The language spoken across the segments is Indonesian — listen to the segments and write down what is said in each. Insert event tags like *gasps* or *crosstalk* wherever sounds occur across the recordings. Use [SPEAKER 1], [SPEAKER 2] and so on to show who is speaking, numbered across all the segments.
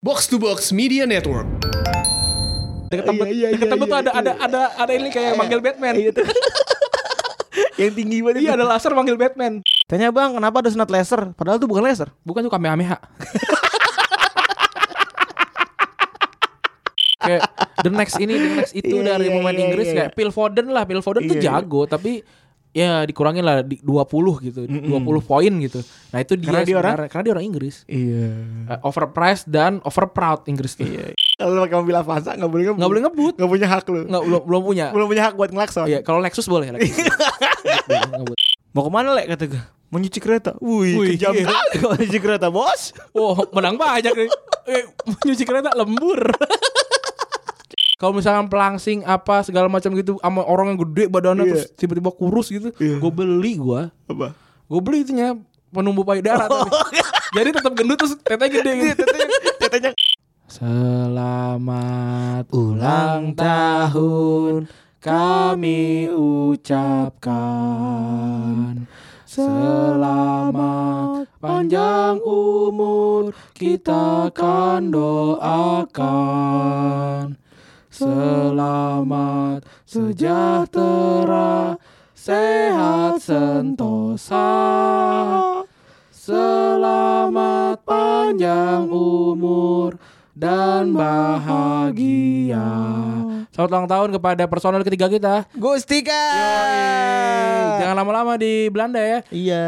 [SPEAKER 1] Box to Box Media Network.
[SPEAKER 2] Deket
[SPEAKER 3] Iya,
[SPEAKER 2] tebet,
[SPEAKER 3] iya,
[SPEAKER 2] deket
[SPEAKER 3] iya,
[SPEAKER 2] tebet tuh
[SPEAKER 3] iya,
[SPEAKER 2] ada,
[SPEAKER 3] iya.
[SPEAKER 2] ada, ada, ada ini kayak manggil Batman.
[SPEAKER 3] Iya tuh. yang tinggi banget
[SPEAKER 2] Iya, ada laser manggil Batman.
[SPEAKER 3] Tanya bang, kenapa ada sunat laser? Padahal itu bukan laser.
[SPEAKER 2] Bukan tuh
[SPEAKER 3] *laughs*
[SPEAKER 2] kamehameha. kayak the next ini, the next
[SPEAKER 3] Iya,
[SPEAKER 2] itu dari
[SPEAKER 3] iya,
[SPEAKER 2] pemain
[SPEAKER 3] iya,
[SPEAKER 2] Inggris
[SPEAKER 3] iya.
[SPEAKER 2] kayak Phil Foden lah, Phil Foden tuh
[SPEAKER 3] Iya, iya.
[SPEAKER 2] jago tapi ya dikurangin lah di 20 gitu, 20 poin gitu. Nah, itu dia
[SPEAKER 3] Karena dia orang-
[SPEAKER 2] sebenarnya- karena dia orang Inggris.
[SPEAKER 3] Iya.
[SPEAKER 2] Eh, overpriced dan overproud Inggris tuh.
[SPEAKER 3] Kalau lu pakai mobil Avanza nggak boleh ngebut.
[SPEAKER 2] Nggak boleh ngebut.
[SPEAKER 3] Nggak punya hak lu.
[SPEAKER 2] Nggak belum belum punya.
[SPEAKER 3] Belum punya hak buat ngelakson.
[SPEAKER 2] Iya, kalau Lexus boleh
[SPEAKER 3] *laughs*
[SPEAKER 2] Lexus. Boleh ngebut.
[SPEAKER 3] Mau kemana lek kata gue? Menyuci kereta. Wih,
[SPEAKER 2] Wih,
[SPEAKER 3] kejam *laughs*
[SPEAKER 2] iya.
[SPEAKER 3] kali kalau nyuci kereta bos.
[SPEAKER 2] Oh, menang banyak nih. Eh, nyuci kereta lembur. Kalau misalkan pelangsing apa segala macam gitu sama orang yang gede badannya
[SPEAKER 3] Iya.
[SPEAKER 2] terus tiba-tiba kurus gitu,
[SPEAKER 3] Iya.
[SPEAKER 2] gue beli gua.
[SPEAKER 3] Apa?
[SPEAKER 2] Gue beli itunya penumbuh payudara. tapi. Jadi tetap gendut terus tetenya gede gitu.
[SPEAKER 3] Oh. Iya, Tetenya
[SPEAKER 2] Selamat ulang tahun kami ucapkan Selamat panjang umur kita kan doakan Selamat sejahtera sehat sentosa Selamat panjang umur dan bahagia. Selamat ulang tahun kepada personel ketiga kita.
[SPEAKER 3] Gustika.
[SPEAKER 2] Jangan lama-lama di Belanda *laughs* ya.
[SPEAKER 3] Iya.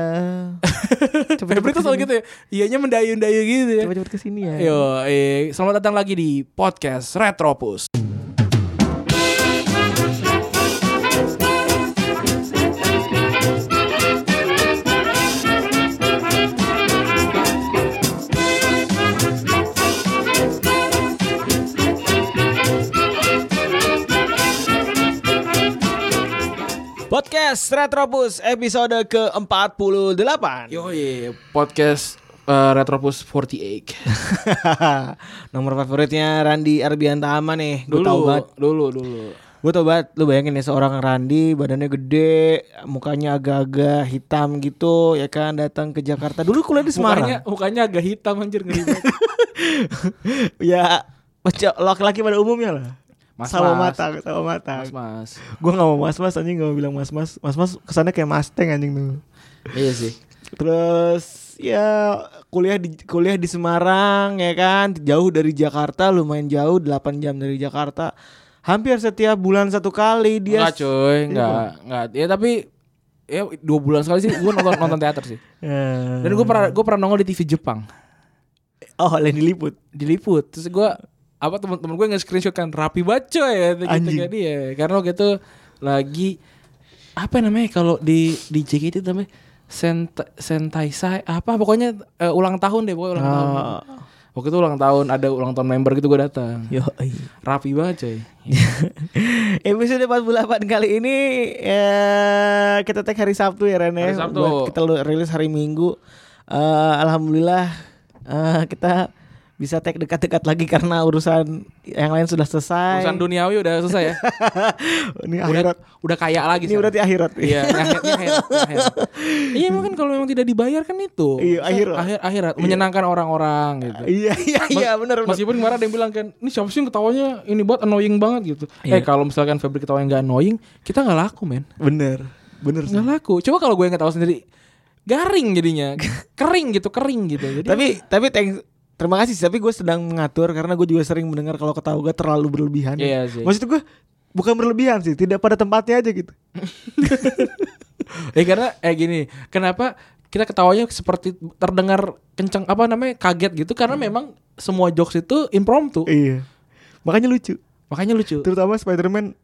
[SPEAKER 2] Febri tuh selalu gitu ya. Ianya mendayu-dayu gitu ya.
[SPEAKER 3] Cepet-cepet kesini ya.
[SPEAKER 2] Yo, eh, selamat datang lagi di podcast Retropus.
[SPEAKER 3] Podcast Retropus episode ke-48.
[SPEAKER 2] Yo, eh, podcast eh, Retropus *laughs* 48.
[SPEAKER 3] Nomor favoritnya Randi Arbian Tama nih. Gue
[SPEAKER 2] Dulu,
[SPEAKER 3] tau banget.
[SPEAKER 2] dulu, dulu.
[SPEAKER 3] Gue tau banget. Lu bayangin ya seorang Randi badannya gede, mukanya agak-agak hitam gitu ya kan datang ke Jakarta. Dulu kuliah di Semarang.
[SPEAKER 2] Mukanya, mukanya agak hitam anjir ngeri banget.
[SPEAKER 3] *laughs* ya pecah- laki-laki pada umumnya lah.
[SPEAKER 2] Mas-mas.
[SPEAKER 3] sama mata, sama mata.
[SPEAKER 2] Mas, mas.
[SPEAKER 3] Gue gak mau mas-mas anjing gak mau bilang mas-mas. Mas-mas kesannya kayak masteng anjing tuh.
[SPEAKER 2] Iya sih.
[SPEAKER 3] Terus ya kuliah di kuliah di Semarang ya kan jauh dari Jakarta lumayan jauh 8 jam dari Jakarta hampir setiap bulan satu kali dia
[SPEAKER 2] Enggak cuy, enggak, enggak. Ya tapi ya dua bulan sekali sih gue nonton nonton teater sih.
[SPEAKER 3] Eh,
[SPEAKER 2] Dan gue pernah gue pernah nongol di TV Jepang,
[SPEAKER 3] oh lain diliput
[SPEAKER 2] diliput. Terus gue apa teman-teman gue nge-screenshot kan rapi baca ya gitu
[SPEAKER 3] Anjing.
[SPEAKER 2] kan dia. Karena waktu itu lagi apa ya namanya kalau di di JKT itu namanya Sent Sentai Sai apa pokoknya eh, ulang tahun
[SPEAKER 3] Ah.
[SPEAKER 2] deh pokoknya ulang tahun.
[SPEAKER 3] Oh.
[SPEAKER 2] Waktu itu ulang tahun ada ulang tahun member gitu gue datang.
[SPEAKER 3] yo
[SPEAKER 2] Rapi banget coy.
[SPEAKER 3] *laughs* episode 48 kali ini eh, kita tag hari Sabtu ya Ren ya
[SPEAKER 2] Hari Sabtu.
[SPEAKER 3] buat kita lu- rilis hari Minggu Eh, alhamdulillah eh, kita bisa tag dekat-dekat lagi karena urusan yang lain sudah selesai
[SPEAKER 2] Urusan duniawi udah selesai ya.
[SPEAKER 3] *laughs* ini
[SPEAKER 2] Udah,
[SPEAKER 3] akhirat
[SPEAKER 2] udah kaya lagi.
[SPEAKER 3] Ini
[SPEAKER 2] sekarang.
[SPEAKER 3] berarti akhirat.
[SPEAKER 2] Iya, akhirnya akhirat,
[SPEAKER 3] *laughs*
[SPEAKER 2] akhirat. Iya, mungkin kalau memang tidak dibayar kan itu.
[SPEAKER 3] Iya, akhirat.
[SPEAKER 2] Akhir akhirat menyenangkan orang-orang gitu.
[SPEAKER 3] *laughs* Iya iya iya benar benar.
[SPEAKER 2] Meskipun kemarin ada yang bilang kan, ini siapa sih yang ketawanya ini buat annoying banget gitu.
[SPEAKER 3] Iya.
[SPEAKER 2] Eh kalau misalkan Febri ketawanya nggak annoying, kita nggak laku men,
[SPEAKER 3] Bener. Bener sih.
[SPEAKER 2] nggak laku. Coba kalau gue yang ketawa sendiri, garing jadinya, *laughs* kering gitu, kering gitu. Jadi,
[SPEAKER 3] Tapi tapi thanks Terima kasih sih, tapi gue sedang mengatur karena gue juga sering mendengar kalau ketawa gue terlalu berlebihan. ya.
[SPEAKER 2] Iya sih.
[SPEAKER 3] Maksud gue bukan berlebihan sih, tidak pada tempatnya aja gitu.
[SPEAKER 2] eh karena eh gini, kenapa kita ketawanya seperti terdengar kencang apa namanya kaget gitu? Karena memang semua jokes itu impromptu,
[SPEAKER 3] Iya. Makanya lucu.
[SPEAKER 2] makanya lucu.
[SPEAKER 3] Terutama Spider-Man.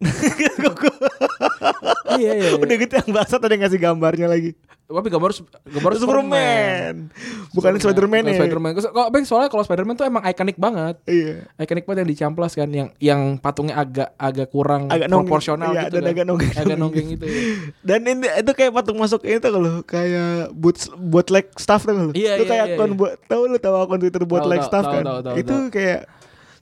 [SPEAKER 2] iya, iya, iya.
[SPEAKER 3] *laughs* Udah gitu yang bahasa tadi ngasih gambarnya lagi.
[SPEAKER 2] tapi gambar gambar
[SPEAKER 3] Superman. Bukan Spider-Man
[SPEAKER 2] Bukan
[SPEAKER 3] ya.
[SPEAKER 2] Spiderman. Kok Bang, soalnya kalau Spiderman tuh emang ikonik banget.
[SPEAKER 3] Iya.
[SPEAKER 2] Ikonik banget yang dicamplas kan yang yang patungnya agak agak kurang
[SPEAKER 3] Agak nonggeng.
[SPEAKER 2] proporsional
[SPEAKER 3] Iya,
[SPEAKER 2] gitu
[SPEAKER 3] dan
[SPEAKER 2] kan.
[SPEAKER 3] agak nonggeng-
[SPEAKER 2] nonggeng gitu. ya.
[SPEAKER 3] Dan ini, itu kayak patung masuk itu kalau kayak buat buat leg stuff tuh kalau.
[SPEAKER 2] Iya,
[SPEAKER 3] itu
[SPEAKER 2] iya,
[SPEAKER 3] kayak
[SPEAKER 2] iya,
[SPEAKER 3] akun
[SPEAKER 2] iya.
[SPEAKER 3] buat tahu lu tahu akun Twitter buat
[SPEAKER 2] Tahu,
[SPEAKER 3] leg
[SPEAKER 2] tahu,
[SPEAKER 3] stuff
[SPEAKER 2] tahu,
[SPEAKER 3] kan.
[SPEAKER 2] tahu, tahu,
[SPEAKER 3] itu
[SPEAKER 2] tahu.
[SPEAKER 3] kayak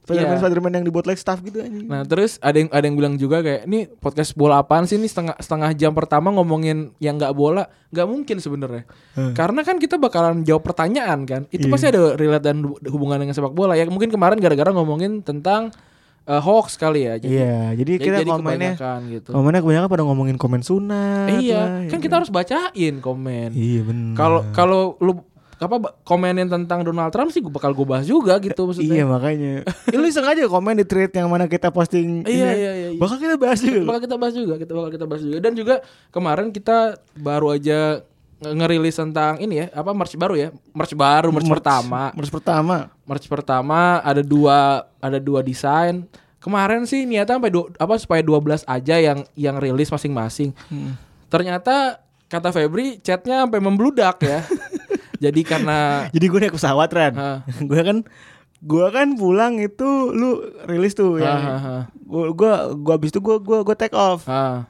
[SPEAKER 3] Spiderman
[SPEAKER 2] Iya.
[SPEAKER 3] Spiderman yang dibuat like staff gitu anjing.
[SPEAKER 2] Nah terus ada yang ada yang bilang juga kayak ini podcast bola apaan sih ini setengah setengah jam pertama ngomongin yang nggak bola nggak mungkin sebenarnya
[SPEAKER 3] Hmm.
[SPEAKER 2] karena kan kita bakalan jawab pertanyaan kan itu pasti
[SPEAKER 3] Iya.
[SPEAKER 2] ada relate dan du- hubungan dengan sepak bola ya mungkin kemarin gara-gara ngomongin tentang eh, hoax kali ya jadi
[SPEAKER 3] Iya, jadi
[SPEAKER 2] jadi,
[SPEAKER 3] kita
[SPEAKER 2] jadi
[SPEAKER 3] komennya Oh,
[SPEAKER 2] kebanyakan gitu
[SPEAKER 3] komennya kebanyakan pada ngomongin komen sunat.
[SPEAKER 2] iya
[SPEAKER 3] lah,
[SPEAKER 2] kan
[SPEAKER 3] ya
[SPEAKER 2] kita harus bacain komen
[SPEAKER 3] Iya benar.
[SPEAKER 2] kalau kalau lu apa ba- komenin tentang Donald Trump sih gua bakal gue bahas juga gitu
[SPEAKER 3] Iya
[SPEAKER 2] maksudnya *laughs*
[SPEAKER 3] makanya. Ih, lu sengaja komen di thread yang mana kita posting.
[SPEAKER 2] Iya,
[SPEAKER 3] ini.
[SPEAKER 2] iya, iya, iya.
[SPEAKER 3] Bakal kita bahas juga. loh.
[SPEAKER 2] bakal kita bahas juga kita bakal kita bahas juga dan juga kemarin kita baru aja nge- ngerilis tentang ini ya apa merch baru ya merch baru merch, pertama
[SPEAKER 3] Merch pertama.
[SPEAKER 2] merch pertama ada dua ada dua desain kemarin sih niatnya sampai du- apa supaya 12 aja yang yang rilis masing-masing
[SPEAKER 3] Hmm.
[SPEAKER 2] ternyata kata Febri chatnya sampai membludak
[SPEAKER 3] *laughs*
[SPEAKER 2] ya jadi karena
[SPEAKER 3] Jadi gue naik pesawat Ren. *laughs*
[SPEAKER 2] Ah.
[SPEAKER 3] gue kan gue kan pulang itu lu rilis tuh
[SPEAKER 2] Ah,
[SPEAKER 3] ya.
[SPEAKER 2] ah, ah.
[SPEAKER 3] Gue gua gua abis itu gue gua gua take off.
[SPEAKER 2] ah.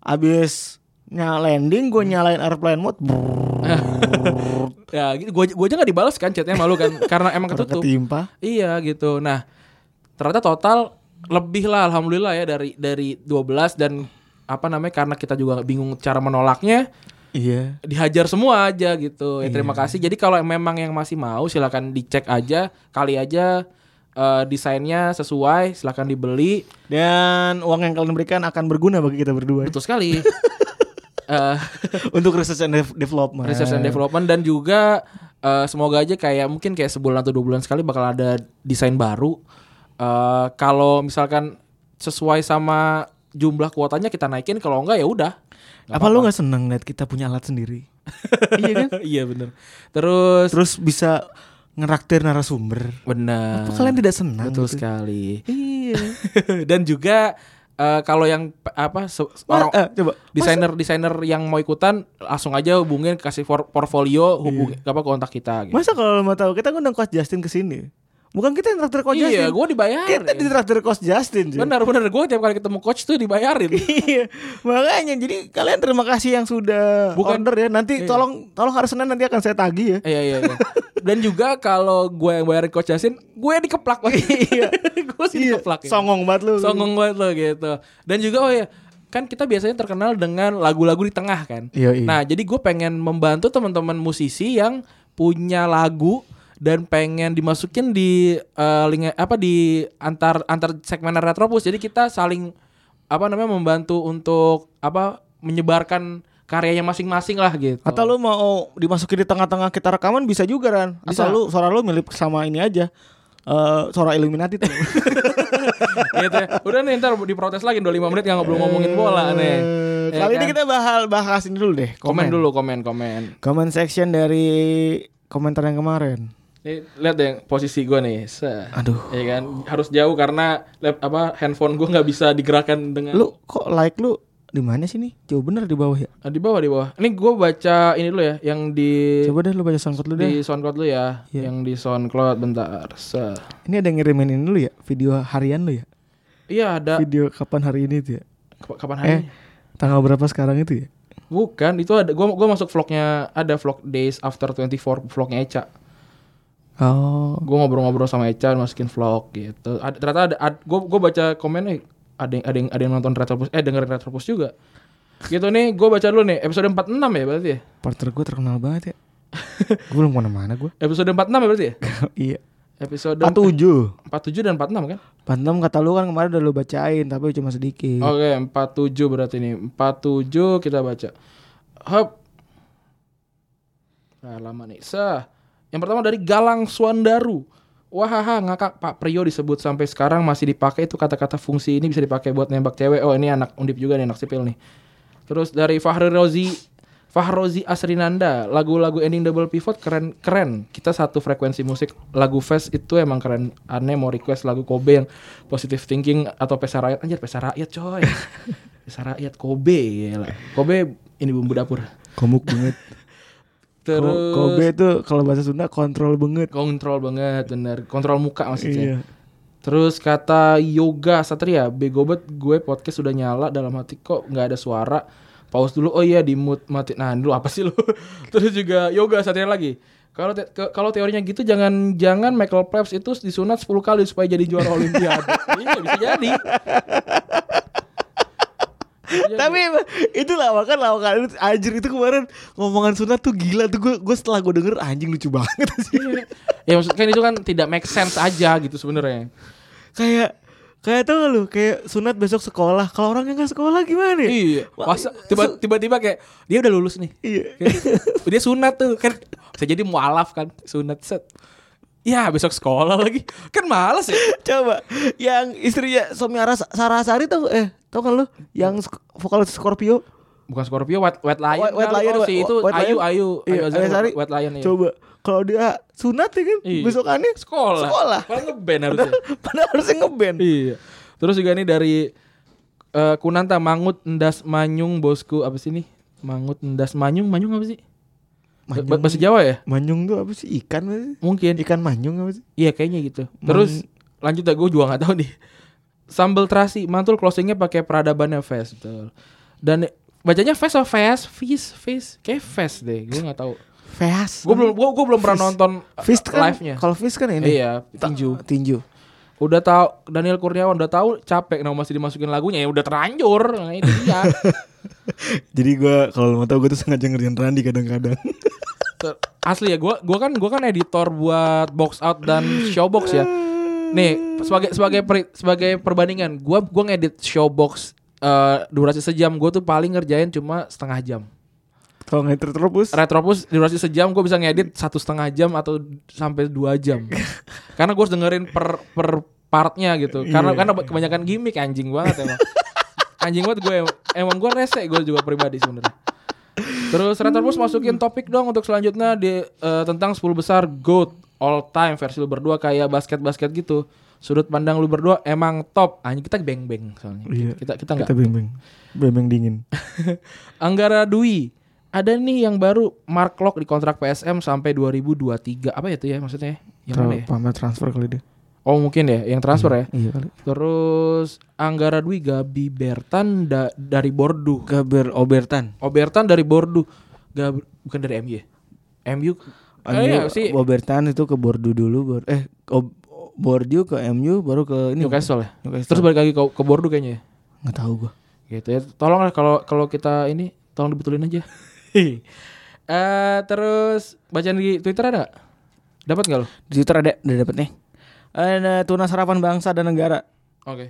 [SPEAKER 3] Abis nyala landing
[SPEAKER 2] Hmm.
[SPEAKER 3] gue nyalain airplane mode. Brrrr,
[SPEAKER 2] ya gitu gua gua aja nggak dibalas kan chatnya malu kan karena emang *laughs* ketutup
[SPEAKER 3] ketimpa.
[SPEAKER 2] Iya gitu. Nah, ternyata total lebih lah alhamdulillah ya dari dari 12 dan apa namanya karena kita juga bingung cara menolaknya
[SPEAKER 3] Iya.
[SPEAKER 2] dihajar semua aja gitu. Ya terima kasih. Jadi kalau memang yang masih mau silakan dicek aja kali aja eh, desainnya sesuai silakan dibeli.
[SPEAKER 3] Dan uang yang kalian berikan akan berguna bagi kita berdua.
[SPEAKER 2] Betul sekali. Eh,
[SPEAKER 3] *laughs* Untuk research and dev- development.
[SPEAKER 2] research and development dan juga eh, semoga aja kayak mungkin kayak sebulan atau dua bulan sekali bakal ada desain baru. Eh, kalau misalkan sesuai sama jumlah kuotanya kita naikin, kalau enggak ya udah.
[SPEAKER 3] Apa, lu nggak seneng liat kita punya alat sendiri? iya kan?
[SPEAKER 2] *laughs* iya bener. Terus
[SPEAKER 3] Terus bisa ngeraktir narasumber.
[SPEAKER 2] bener.
[SPEAKER 3] Apa kalian tidak senang?
[SPEAKER 2] Ah, betul
[SPEAKER 3] gitu?
[SPEAKER 2] sekali. *laughs*
[SPEAKER 3] Iya.
[SPEAKER 2] dan juga eh, kalau yang pe- apa se-
[SPEAKER 3] Wah,
[SPEAKER 2] orang-
[SPEAKER 3] eh, coba.
[SPEAKER 2] desainer desainer yang mau ikutan langsung aja hubungin kasih for- portfolio hubung apa kontak kita. Gitu.
[SPEAKER 3] Iya. Masa kalau lo mau tahu kita ngundang Coach Justin ke sini? Bukan kita yang traktir Coach
[SPEAKER 2] Iya,
[SPEAKER 3] Justin.
[SPEAKER 2] gue dibayar.
[SPEAKER 3] Kita di traktir Coach Justin. cuy.
[SPEAKER 2] Benar benar gue tiap kali ketemu coach tuh *laughs* dibayarin.
[SPEAKER 3] *laughs* Iya. Makanya jadi kalian terima kasih yang sudah
[SPEAKER 2] Bukan-
[SPEAKER 3] order ya. Nanti tolong tolong harus Senin nanti akan saya tagih ya.
[SPEAKER 2] Iya iya iya. Dan juga kalau gue yang bayarin coach Yasin, gue yang dikeplak lagi. *laughs* Iya. gue sih dikeplak. ya.
[SPEAKER 3] Songong banget lu.
[SPEAKER 2] Songong banget lo gitu. Dan juga oh ya, kan kita biasanya terkenal dengan lagu-lagu di tengah kan.
[SPEAKER 3] Yoi.
[SPEAKER 2] Nah, jadi gue pengen membantu teman-teman musisi yang punya lagu dan pengen dimasukin di eh, link apa di antar antar segmen Retropus. Jadi kita saling apa namanya membantu untuk apa menyebarkan karyanya masing-masing lah gitu.
[SPEAKER 3] Atau lu mau dimasukin di tengah-tengah kita rekaman bisa juga kan. Asal
[SPEAKER 2] Bisa.
[SPEAKER 3] lu suara lu mirip sama ini aja. Eh suara Illuminati
[SPEAKER 2] *laughs*
[SPEAKER 3] tuh.
[SPEAKER 2] gitu ya. Udah nih ntar diprotes lagi 25 menit nggak ngobrol ngomongin bola nih.
[SPEAKER 3] Eh,
[SPEAKER 2] Ya
[SPEAKER 3] Kali
[SPEAKER 2] kan?
[SPEAKER 3] ini kita bahas bahas ini dulu deh.
[SPEAKER 2] komen dulu komen komen.
[SPEAKER 3] Comment section dari komentar yang kemarin.
[SPEAKER 2] Nih, lihat deh posisi gue nih. Se-
[SPEAKER 3] Aduh.
[SPEAKER 2] Ya kan harus jauh karena lap, apa handphone gue nggak bisa digerakkan dengan
[SPEAKER 3] Lu kok like lu di mana sih nih? Jauh bener di bawah ya.
[SPEAKER 2] Ah, di bawah di bawah. Ini gue baca ini dulu ya yang di
[SPEAKER 3] Coba deh lu baca soundcloud lu deh. Iya.
[SPEAKER 2] di SoundCloud dulu ya. Yang di SoundCloud bentar. Se-
[SPEAKER 3] Ini ada yang ngirimin ini lu ya, video harian lu ya.
[SPEAKER 2] Iya ada
[SPEAKER 3] Video kapan hari ini tuh ya?
[SPEAKER 2] K- kapan hari?
[SPEAKER 3] Eh, tanggal berapa sekarang itu ya?
[SPEAKER 2] Bukan, itu ada gua gua masuk vlognya ada vlog Days After 24 vlognya Eca.
[SPEAKER 3] Oh,
[SPEAKER 2] gue ngobrol-ngobrol sama Echa masukin vlog gitu ada, ternyata ada gue gue baca komennya ada yang ada yang ada yang nonton retropus eh dengerin retropus juga gitu nih gue baca dulu nih episode 46 ya berarti ya
[SPEAKER 3] partner gue terkenal
[SPEAKER 2] *laughs*
[SPEAKER 3] banget ya. gue belum mana-mana gue.
[SPEAKER 2] episode 46 ya berarti ya
[SPEAKER 3] iya.
[SPEAKER 2] episode
[SPEAKER 3] 47.
[SPEAKER 2] 47 dan 46 kan
[SPEAKER 3] 46 kata lu kan kemarin udah lu bacain tapi cuma sedikit.
[SPEAKER 2] oke 47 berarti nih 47 kita baca hop nah lama nih sah yang pertama dari Galang Suandaru Wahaha ngakak Pak Priyo disebut sampai sekarang masih dipakai itu kata-kata fungsi ini bisa dipakai buat nembak cewek. Oh ini anak undip juga nih anak sipil nih. Terus dari Fahri Rozi Fahrozi Asrinanda lagu-lagu ending double pivot keren keren kita satu frekuensi musik lagu fest itu emang keren aneh mau request lagu Kobe yang positive thinking atau pesta rakyat anjir pesta rakyat coy pesta rakyat Kobe gila. Kobe ini bumbu dapur
[SPEAKER 3] Komuk banget. Ko-
[SPEAKER 2] terus
[SPEAKER 3] Kobe itu kalau bahasa Sunda kontrol banget.
[SPEAKER 2] kontrol banget bener kontrol muka
[SPEAKER 3] Iya.
[SPEAKER 2] maksudnya terus kata yoga satria bego banget gue podcast sudah nyala dalam hati kok nggak ada suara *laughs* pause dulu oh iya di mute mati nah dulu apa sih lu terus juga yoga satria lagi Kalau te- ke- kalau teorinya gitu jangan-jangan Michael Phelps itu disunat 10 kali supaya jadi juara olimpiade. *laughs* Iya bisa jadi. Bisa jadi.
[SPEAKER 3] Tapi emang itu lawakan lawakan itu anjir itu kemarin ngomongan sunat tuh gila tuh gue gue setelah gue denger anjing lucu banget sih.
[SPEAKER 2] ya maksudnya kan itu kan tidak make sense aja gitu *laughs* sebenarnya.
[SPEAKER 3] kayak kayak tuh lu kayak sunat besok sekolah. Kalau orangnya nggak sekolah gimana? ya?
[SPEAKER 2] Iya. Masa tiba- tiba-tiba kayak dia udah lulus nih.
[SPEAKER 3] Iya.
[SPEAKER 2] Kayak, dia sunat tuh kan bisa jadi mualaf kan sunat set. Ya besok sekolah lagi kan males ya.
[SPEAKER 3] Coba yang istrinya Somiara Sarasari tuh eh tau kan lu yang sk- vokalis Scorpio
[SPEAKER 2] Bukan Scorpio White, white Lion.
[SPEAKER 3] White- White
[SPEAKER 2] kali.
[SPEAKER 3] Lion,
[SPEAKER 2] Oh, si
[SPEAKER 3] White-
[SPEAKER 2] itu
[SPEAKER 3] White
[SPEAKER 2] Ayu
[SPEAKER 3] Lion.
[SPEAKER 2] Ayu
[SPEAKER 3] Iya,
[SPEAKER 2] Ayu Azhar,
[SPEAKER 3] Ayu Azhari.
[SPEAKER 2] White Lion iya.
[SPEAKER 3] Coba kalau dia sunat ya kan
[SPEAKER 2] Iya.
[SPEAKER 3] besokannya
[SPEAKER 2] sekolah.
[SPEAKER 3] Sekolah.
[SPEAKER 2] Padahal ngeband
[SPEAKER 3] *laughs*
[SPEAKER 2] harusnya.
[SPEAKER 3] padahal harusnya ngeband.
[SPEAKER 2] iya. Terus juga ini dari eh, Kunanta Mangut Endas Manyung Bosku apa sih nih? Mangut Endas Manyung Manyung apa sih? Ba-
[SPEAKER 3] Manyung.
[SPEAKER 2] Bahasa Jawa ya?
[SPEAKER 3] Manyung tuh apa sih ikan apa sih?
[SPEAKER 2] Mungkin.
[SPEAKER 3] Ikan manyung apa sih?
[SPEAKER 2] Iya kayaknya gitu. Terus lanjut ya gue juga nggak tahu nih. Sambal terasi mantul closingnya pakai peradabannya fest betul. Dan bacanya fest atau fest? Fis, fis, kayak fest deh. Gue nggak tahu.
[SPEAKER 3] Feas.
[SPEAKER 2] Gue belum, gue belum pernah
[SPEAKER 3] Fist.
[SPEAKER 2] nonton eh,
[SPEAKER 3] Fist kan?
[SPEAKER 2] live-nya.
[SPEAKER 3] Kalau fist kan ini.
[SPEAKER 2] Iya, tinju.
[SPEAKER 3] Tinju.
[SPEAKER 2] Udah tahu Daniel Kurniawan udah tahu capek nah masih dimasukin lagunya ya udah terlanjur. Nah itu dia.
[SPEAKER 3] *laughs* Jadi gua kalau lu mau tahu gue tuh sengaja ngerjain Randi kadang-kadang.
[SPEAKER 2] Ter- Asli ya gua gua kan gua kan editor buat box out dan showbox ya. Nih, sebagai sebagai peri- sebagai perbandingan, gua gua ngedit showbox eh, durasi sejam, gua tuh paling ngerjain cuma setengah jam.
[SPEAKER 3] *laughs* kalau ngeter terus
[SPEAKER 2] Retropus durasi sejam, gua bisa ngedit satu setengah jam atau sampai dua *laughs* jam. karena gua harus dengerin per per partnya gitu. Karena karena kebanyakan gimmick anjing banget *laughs* emang. anjing banget gue emang gue rese gue juga pribadi sebenarnya. Terus Retropus masukin topik dong untuk selanjutnya di eh, tentang 10 besar GOAT all time versi lu berdua kayak basket-basket gitu. Sudut pandang lu berdua emang top. Anjing kita beng-beng soalnya.
[SPEAKER 3] Iya.
[SPEAKER 2] Kita kita enggak
[SPEAKER 3] kita bimbing. Bimbing dingin.
[SPEAKER 2] *laughs* Anggara Dwi. Ada nih yang baru Mark Locke di kontrak PSM sampai 2023. Apa itu ya maksudnya? Yang mana ya?
[SPEAKER 3] Pamer transfer kali dia.
[SPEAKER 2] Oh mungkin ya, yang transfer ya.
[SPEAKER 3] Iya kali.
[SPEAKER 2] Terus Anggara Dwi Gabi Bertan da- dari Bordeaux.
[SPEAKER 3] Gaber Obertan.
[SPEAKER 2] Oh Bertan dari Bordeaux. Gab- bukan dari MU. ya?
[SPEAKER 3] MU,
[SPEAKER 2] MU. Kayaknya Iya, sih
[SPEAKER 3] Obertan itu ke Bordeaux dulu baru eh Ob- Bordeaux ke MU baru ke ini
[SPEAKER 2] Newcastle ya.
[SPEAKER 3] Newcastle.
[SPEAKER 2] Terus balik lagi ke, ke Bordeaux kayaknya. ya.
[SPEAKER 3] nggak tahu gua.
[SPEAKER 2] Gitu ya. Tolonglah kalau kalau kita ini tolong dibetulin aja. *laughs* Eh terus bacaan di Twitter ada nggak? Dapat nggak lo?
[SPEAKER 3] Di Twitter ada udah dapet nih. Ada tuna sarapan bangsa dan negara. *laughs*
[SPEAKER 2] Oke.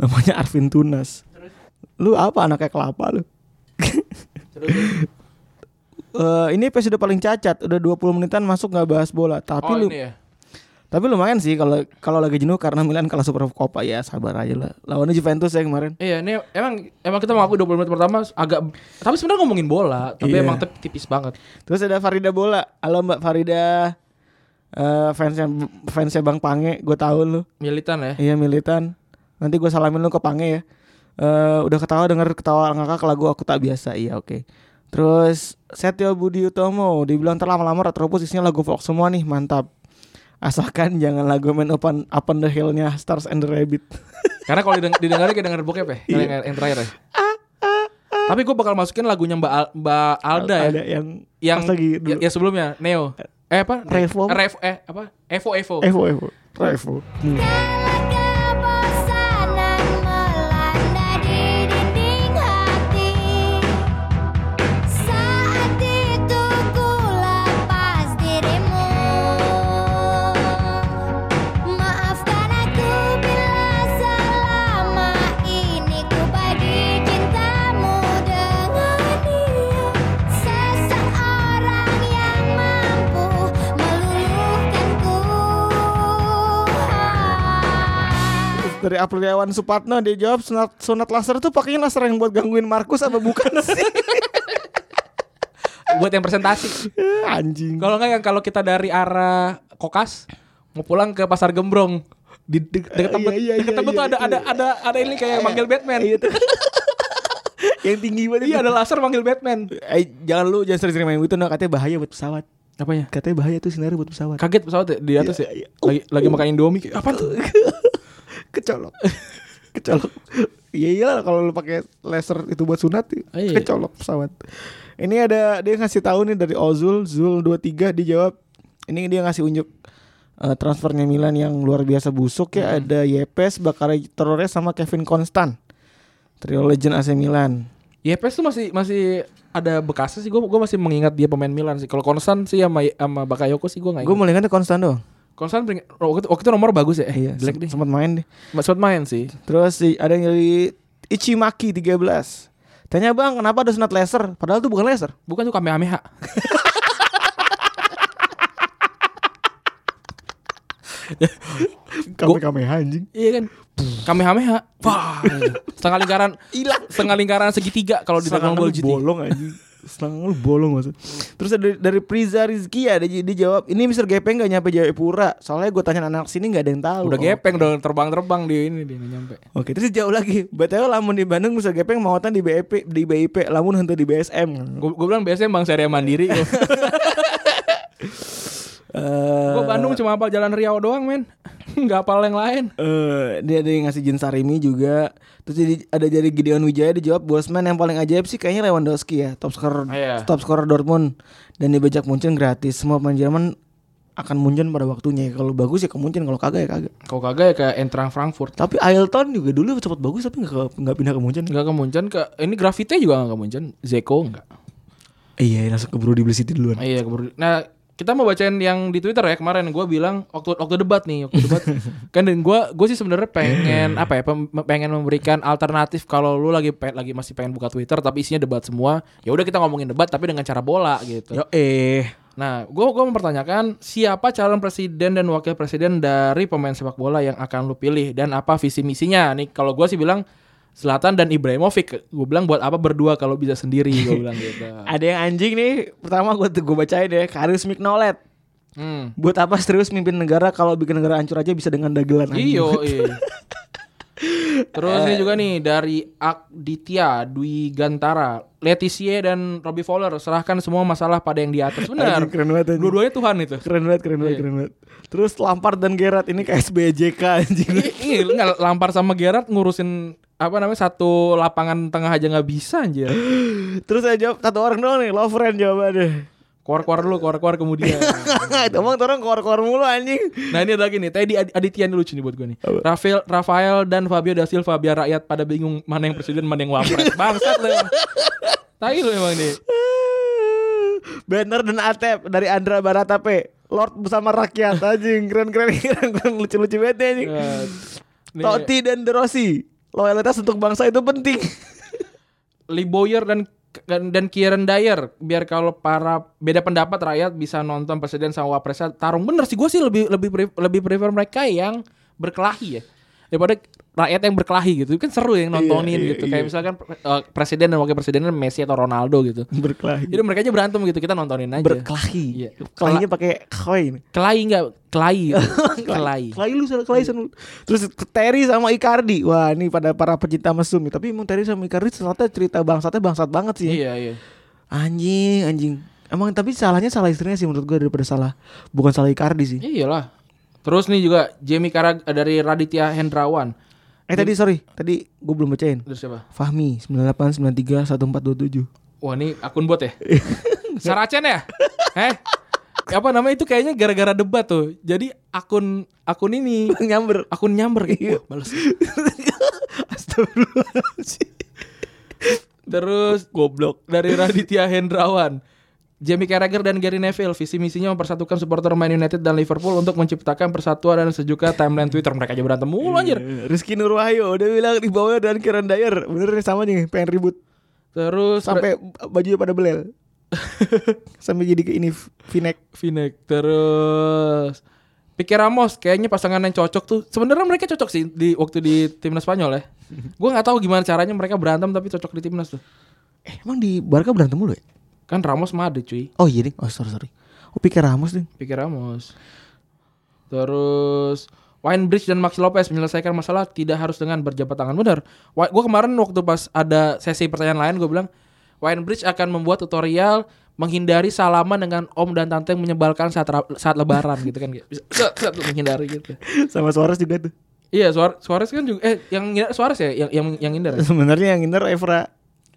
[SPEAKER 3] Namanya Arvin Tunas. Lu apa anaknya kelapa lu? *laughs* Eh, ini episode paling cacat udah 20 menitan masuk nggak bahas bola tapi
[SPEAKER 2] oh
[SPEAKER 3] lu
[SPEAKER 2] ini ya.
[SPEAKER 3] tapi lumayan sih kalau kalau lagi jenuh karena Milan kalah Super Copa ya sabar aja lah lawannya Juventus ya kemarin
[SPEAKER 2] Iya, ini emang emang kita mengaku 20 menit pertama agak tapi sebenarnya ngomongin bola, tapi
[SPEAKER 3] Iya.
[SPEAKER 2] emang tep- tipis banget.
[SPEAKER 3] Terus ada Farida Bola. Halo Mbak Farida. Eh fansnya fansnya Bang Pange, gue tahu lu.
[SPEAKER 2] Militan ya.
[SPEAKER 3] Iya militan. Nanti gue salamin lu ke Pange ya. Eh udah ketawa denger ketawa ngakak lagu aku tak biasa. Iya oke. Terus Setio Budi Utomo dibilang terlama lama retropus isinya lagu folk semua nih mantap. Asalkan jangan lagu Man Up on, Up on the Hill-nya Stars and the Rabbit.
[SPEAKER 2] Karena kalau dideng- didengarin kayak denger bokep ya, kalian
[SPEAKER 3] Iya.
[SPEAKER 2] yang, yang terakhir ya.
[SPEAKER 3] Ah,
[SPEAKER 2] tapi gue bakal masukin lagunya Mbak Al- Mbak Alda ya,
[SPEAKER 3] Ada yang
[SPEAKER 2] yang
[SPEAKER 3] pas lagi dulu.
[SPEAKER 2] ya, ya sebelumnya Neo. Eh apa?
[SPEAKER 3] Revo.
[SPEAKER 2] Revo eh apa? Evo Evo.
[SPEAKER 3] Evo Evo. Evo. Hmm.
[SPEAKER 1] Kebosanan melanda di dinding hati Saat itu ku lepas dirimu Maafkan aku bila selama ini ku bagi cintamu dengan dia Seseorang yang mampu meluluhkanku
[SPEAKER 3] Dari Apriliawan Supatno dia jawab sunat, sunat laser tuh pakainya laser yang buat gangguin Markus apa bukan sih?
[SPEAKER 2] Buat yang presentasi.
[SPEAKER 3] *laughs* Anjing.
[SPEAKER 2] Kalau nggak yang kalau kita dari arah Kokas mau pulang ke Pasar Gembrong di de-
[SPEAKER 3] Eh,
[SPEAKER 2] deket tebet,
[SPEAKER 3] iya, iya,
[SPEAKER 2] deket
[SPEAKER 3] iya,
[SPEAKER 2] tebet tuh
[SPEAKER 3] iya,
[SPEAKER 2] ada
[SPEAKER 3] iya.
[SPEAKER 2] ada ada ada ini kayak manggil Batman. Iya,
[SPEAKER 3] yang tinggi banget.
[SPEAKER 2] ada laser manggil Batman.
[SPEAKER 3] Iya, Eh, jangan lu jangan sering-sering main gitu, no. katanya bahaya buat pesawat.
[SPEAKER 2] Apanya?
[SPEAKER 3] Katanya bahaya tuh sinar buat pesawat.
[SPEAKER 2] Kaget pesawat ya, di atas ya.
[SPEAKER 3] Iya, iya.
[SPEAKER 2] Lagi lagi makan Indomie kayak, apa tuh?
[SPEAKER 3] *laughs* Kecolok. Kecolok. Iya iyalah kalau lu pakai laser itu buat sunat,
[SPEAKER 2] Iya.
[SPEAKER 3] kecolok pesawat. Ini ada dia ngasih tahu nih dari Ozul Zul 23 dia jawab Ini dia ngasih unjuk eh, transfernya Milan yang luar biasa busuk
[SPEAKER 2] Hmm.
[SPEAKER 3] ya. Ada Yepes, Bakari Torres sama Kevin Constant. Trio legend AC Milan.
[SPEAKER 2] Yepes tuh masih masih ada bekasnya sih. Gue gue masih mengingat dia pemain Milan sih. Kalau Konsan sih sama sama Bakayoko sih gue nggak
[SPEAKER 3] Gue
[SPEAKER 2] ingat.
[SPEAKER 3] mulai ingatnya Constant doang.
[SPEAKER 2] Konsan pering- waktu, waktu itu nomor bagus ya. Eh,
[SPEAKER 3] Iya,
[SPEAKER 2] jelek deh.
[SPEAKER 3] sempat main deh.
[SPEAKER 2] Sempat main sih.
[SPEAKER 3] Terus si- ada yang dari Ichimaki 13. Tanya bang, kenapa ada sunat laser? Padahal itu bukan laser.
[SPEAKER 2] Bukan tuh Kamehameha.
[SPEAKER 3] Kami kami anjing.
[SPEAKER 2] *laughs* Iya kan? Kamehameha. Wah. setengah lingkaran
[SPEAKER 3] Hilang.
[SPEAKER 2] setengah lingkaran segitiga kalau di
[SPEAKER 3] Serangan
[SPEAKER 2] tangan
[SPEAKER 3] lu
[SPEAKER 2] bola GT.
[SPEAKER 3] bolong anjing. Serangan lu bolong maksud. Terus ada dari, dari Priza Rizky ya, dia, dia jawab, ini Mister Gepeng gak nyampe Jayapura. Soalnya gue tanya anak sini gak ada yang tahu.
[SPEAKER 2] Udah
[SPEAKER 3] Oh.
[SPEAKER 2] gepeng, udah terbang-terbang di ini dia nggak nyampe.
[SPEAKER 3] Oke, terus jauh lagi. BTW lamun di Bandung Mister Gepeng mau di BIP, di BIP, lamun henteu di BSM.
[SPEAKER 2] Gue bilang biasanya Bang Seria Mandiri. Gue
[SPEAKER 3] Eh,
[SPEAKER 2] Bandung cuma apa Jalan Riau doang, men. *laughs* Enggak apal yang lain.
[SPEAKER 3] eh dia ada yang ngasih Jin Sarimi juga. Terus jadi ada dari Gideon Wijaya dijawab Bosman yang paling ajaib sih kayaknya Lewandowski ya, top scorer
[SPEAKER 2] Ah, iya.
[SPEAKER 3] top scorer Dortmund dan dibajak Munchen gratis. Semua pemain Jerman akan Munchen pada waktunya. Kalau bagus ya ke Munchen, kalau kagak ya kagak.
[SPEAKER 2] Kalau kagak ya ke Entrang Frankfurt.
[SPEAKER 3] Tapi Ailton juga dulu cepet bagus tapi nggak ke- nggak pindah ke Munchen.
[SPEAKER 2] Enggak ke Munchen ke ini Grafite juga enggak ke Munchen. Zeko enggak.
[SPEAKER 3] Iya, langsung keburu dibeli City duluan.
[SPEAKER 2] Iya, keburu. Nah, kita mau bacain yang di Twitter ya kemarin gue bilang waktu waktu debat nih waktu *laughs* debat kan dan gue gue sih sebenarnya pengen apa ya pem- pengen memberikan alternatif kalau lu lagi pe- lagi masih pengen buka Twitter tapi isinya debat semua ya udah kita ngomongin debat tapi dengan cara bola gitu
[SPEAKER 3] Yo eh
[SPEAKER 2] nah gue gue mempertanyakan siapa calon presiden dan wakil presiden dari pemain sepak bola yang akan lu pilih dan apa visi misinya nih kalau gue sih bilang Selatan dan Ibrahimovic gue bilang buat apa berdua kalau bisa sendiri gue
[SPEAKER 3] *laughs*
[SPEAKER 2] bilang gitu
[SPEAKER 3] ada yang anjing nih. Pertama gue gue bacain ya, Karius Mignolet.
[SPEAKER 2] hmm.
[SPEAKER 3] Buat apa serius mimpin negara kalau bikin negara hancur aja bisa dengan dagelan anjing.
[SPEAKER 2] Iyo,
[SPEAKER 3] *laughs*
[SPEAKER 2] iya. Terus
[SPEAKER 3] Eh.
[SPEAKER 2] ini juga nih dari Akditya Dwi Gantara, Leticia dan Robbie Fowler serahkan semua masalah pada yang di
[SPEAKER 3] *laughs*
[SPEAKER 2] atas. Benar.
[SPEAKER 3] Anjing, keren banget anjing.
[SPEAKER 2] Dua-duanya Tuhan itu.
[SPEAKER 3] Keren banget, keren
[SPEAKER 2] Iya.
[SPEAKER 3] banget, keren banget. Terus Lampard dan Gerrard ini kayak SBJK anjing.
[SPEAKER 2] *laughs* Iya, nggak lampar sama Gerard ngurusin apa namanya satu lapangan tengah aja nggak bisa anjir.
[SPEAKER 3] Terus saya jawab satu orang doang nih, Lovren
[SPEAKER 2] *laughs*
[SPEAKER 3] jawabannya.
[SPEAKER 2] Keluar-keluar dulu, keluar-keluar kemudian.
[SPEAKER 3] Itu emang tuh orang keluar-keluar mulu anjing. *laughs*
[SPEAKER 2] Nah ini ada lagi nih, tadi Ad- Aditya ini lucu nih buat gue nih Rafael, Rafael dan Fabio da Silva biar rakyat pada bingung mana yang presiden, mana yang wapres Bangsat lu emang Tai lu emang nih
[SPEAKER 3] Banner dan Atep dari Andra Barata P. Lord bersama rakyat anjing. Keren-keren keren, *laughs* keren lucu-lucu banget nih, anjing.
[SPEAKER 2] Eh, nih,
[SPEAKER 3] Totti dan De Rossi. Loyalitas untuk bangsa itu penting. *laughs*
[SPEAKER 2] Lee Boyer dan dan Kieran Dyer biar kalau para beda pendapat rakyat bisa nonton presiden sama wapresnya tarung bener sih gue sih lebih lebih pre- lebih prefer mereka yang berkelahi ya daripada rakyat yang berkelahi gitu kan seru yang
[SPEAKER 3] Iya,
[SPEAKER 2] nontonin
[SPEAKER 3] iya,
[SPEAKER 2] gitu kayak misalkan eh, presiden dan wakil presiden Messi atau Ronaldo gitu
[SPEAKER 3] *laughs* Berkelahi.
[SPEAKER 2] jadi mereka aja berantem gitu kita nontonin aja
[SPEAKER 3] Berkelahi.
[SPEAKER 2] Iya.
[SPEAKER 3] Kelahinya pakai koin.
[SPEAKER 2] kelahi nggak kelahi gitu.
[SPEAKER 3] *laughs*
[SPEAKER 2] kelahi
[SPEAKER 3] Kelai lu sana Kelai sana. Terus Terry sama Icardi. Wah, ini pada para pecinta mesum nih. Tapi emang Terry sama Icardi ternyata cerita bangsatnya bangsat banget sih.
[SPEAKER 2] iya iya
[SPEAKER 3] Anjing, anjing. Emang tapi salahnya salah istrinya sih menurut gue daripada salah bukan salah Icardi sih.
[SPEAKER 2] Ya iyalah terus nih juga Jamie Karag dari Raditya Hendrawan
[SPEAKER 3] Eh tadi sorry, tadi gue belum bacain.
[SPEAKER 2] terus siapa
[SPEAKER 3] Fahmi 98 93 1427.
[SPEAKER 2] Wah ini akun bot ya? Saracen ya? Eh? Apa namanya itu kayaknya gara-gara debat tuh. Jadi akun akun ini
[SPEAKER 3] Nyamber.
[SPEAKER 2] akun Kan nyamber kayak. Wah, males.
[SPEAKER 3] Astagfirullahaladzim.
[SPEAKER 2] Terus goblok dari Raditya Hendrawan. Jamie Carragher dan Gary Neville visi misinya mempersatukan supporter Man United dan Liverpool untuk menciptakan persatuan dan sejuka timeline Twitter mereka aja berantem mulu anjir.
[SPEAKER 3] Rizky Nur Wahyu udah bilang di bawah dan Kieran Dyer. Bener nih sama nih pengen ribut
[SPEAKER 2] Terus
[SPEAKER 3] sampai bajunya pada belel. sampai jadi ke ini V-neck.
[SPEAKER 2] Vinek terus Pikir Ramos kayaknya pasangan yang cocok tuh. Sebenarnya mereka cocok sih di waktu di timnas Spanyol ya. Gua nggak tahu gimana caranya mereka berantem tapi cocok di timnas tuh.
[SPEAKER 3] Eh, emang di Barca berantem mulu ya?
[SPEAKER 2] Kan Ramos Madrid cuy.
[SPEAKER 3] Oh iya ding. Oh sorry sorry. Oh pikir Ramos ding.
[SPEAKER 2] Pikir Ramos. Terus Winebridge dan Maxi Lopez menyelesaikan masalah tidak harus dengan berjabat tangan benar. Wa- Gua kemarin waktu pas ada sesi pertanyaan lain gue bilang Winebridge akan membuat tutorial menghindari salaman dengan om dan tante yang menyebalkan saat ra- saat lebaran gitu kan Bisa- bisa- bisa tuh menghindari gitu.
[SPEAKER 3] *laughs* Sama Suarez juga tuh.
[SPEAKER 2] Iya, Suar- Suarez kan juga eh yang ngindar Suarez ya yang yang yang ngindar. ya?
[SPEAKER 3] Sebenarnya yang inner Evra.